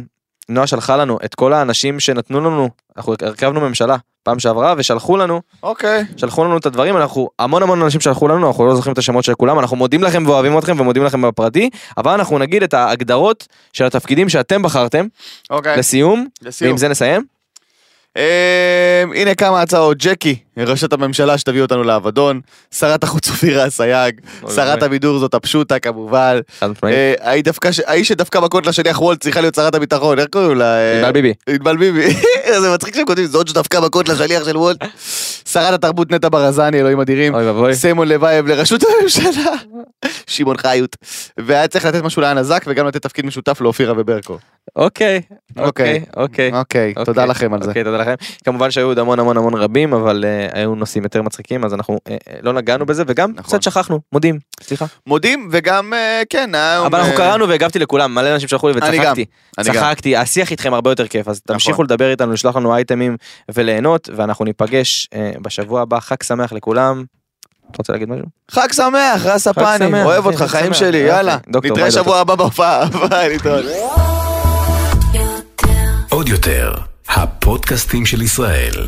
S4: נועה שלחה לנו את כל האנשים שנתנו לנו, אנחנו הרכבנו ממשלה פעם שעברה, ושלחו לנו,
S3: אוקיי.
S4: שלחו לנו את הדברים, אנחנו, המון המון אנשים שלחו לנו, אנחנו לא זוכרים את השמות של כולם, אנחנו מודים לכם ואוהבים אתכם ומודים לכם בפרטי, אבל אנחנו נגיד את ההגדרות של התפקידים שאתם בחרתם,
S3: אוקיי.
S4: לסיום,
S3: לסיום.
S4: ועם זה נסיים.
S3: אמ, הנה כמה הצעות. ג'קי, ראשת הממשלה שתביא אותנו לאבדון, שרת החוץ אופירה אסייג,
S4: אוי,
S3: שרת
S4: אוי.
S3: הבידור זאת הפשוטה כמובן,
S4: חד משמעית.
S3: אה, ההיא דווקא ש- ההיא שדווקא בקוטלה של יח וולט צריכה להיות שרת הביטחון, איך קוראים לה? אה,
S4: ענבל ביבי.
S3: ענבל ביבי. זה מצחיק שהם כותבים זאת שדווקא בקוטלה של יח של וולט. שרת התרבות נטע ברזני, אלוהים אדירים.
S4: אוי ואבוי.
S3: סיימון לבייב לראשות הממשלה, שמעון חיוט. והיה צריך לתת משהו לאנזק וגם לתת תפקיד משותף לאופירה וברקו.
S4: אוקיי,
S3: אוקיי.
S4: אוקיי, אוקיי.
S3: אוקיי, תודה לכם על זה.
S4: אוקיי, תודה לכם. כמובן שהיו עוד המון המון המון רבים, אבל אה, היו נושאים יותר מצחיקים, אז אנחנו אה, אה, לא נגענו בזה, וגם
S3: נכון.
S4: קצת שכחנו, מודים, סליחה.
S3: מודים וגם אה, כן היום,
S4: אבל אנחנו
S3: אה,
S4: קראנו והגבתי לכולם, מלא אנשים שלחו לי
S3: אני גם,
S4: וצחקתי.
S3: אני גם.
S4: צחקתי, השיח איתכם הרבה יותר כיף, אז
S3: נכון.
S4: תמשיכו לדבר איתנו, לשלוח לנו אייטמים וליהנות, ואנחנו ניפגש אה, בשבוע הבא, חג שמח לכולם. אתה רוצה להגיד משהו?
S3: חג שמח רס הפאני
S4: שמח,
S3: אוהב
S4: אחי,
S3: אותך
S4: חג
S3: חיים
S4: שמח.
S3: שלי
S4: יופי.
S3: יאללה
S4: דוקטור,
S3: נתראה
S4: ביי,
S3: שבוע הבא בהופעה ביי נתראה.
S1: עוד יותר, הפודקאסטים של ישראל.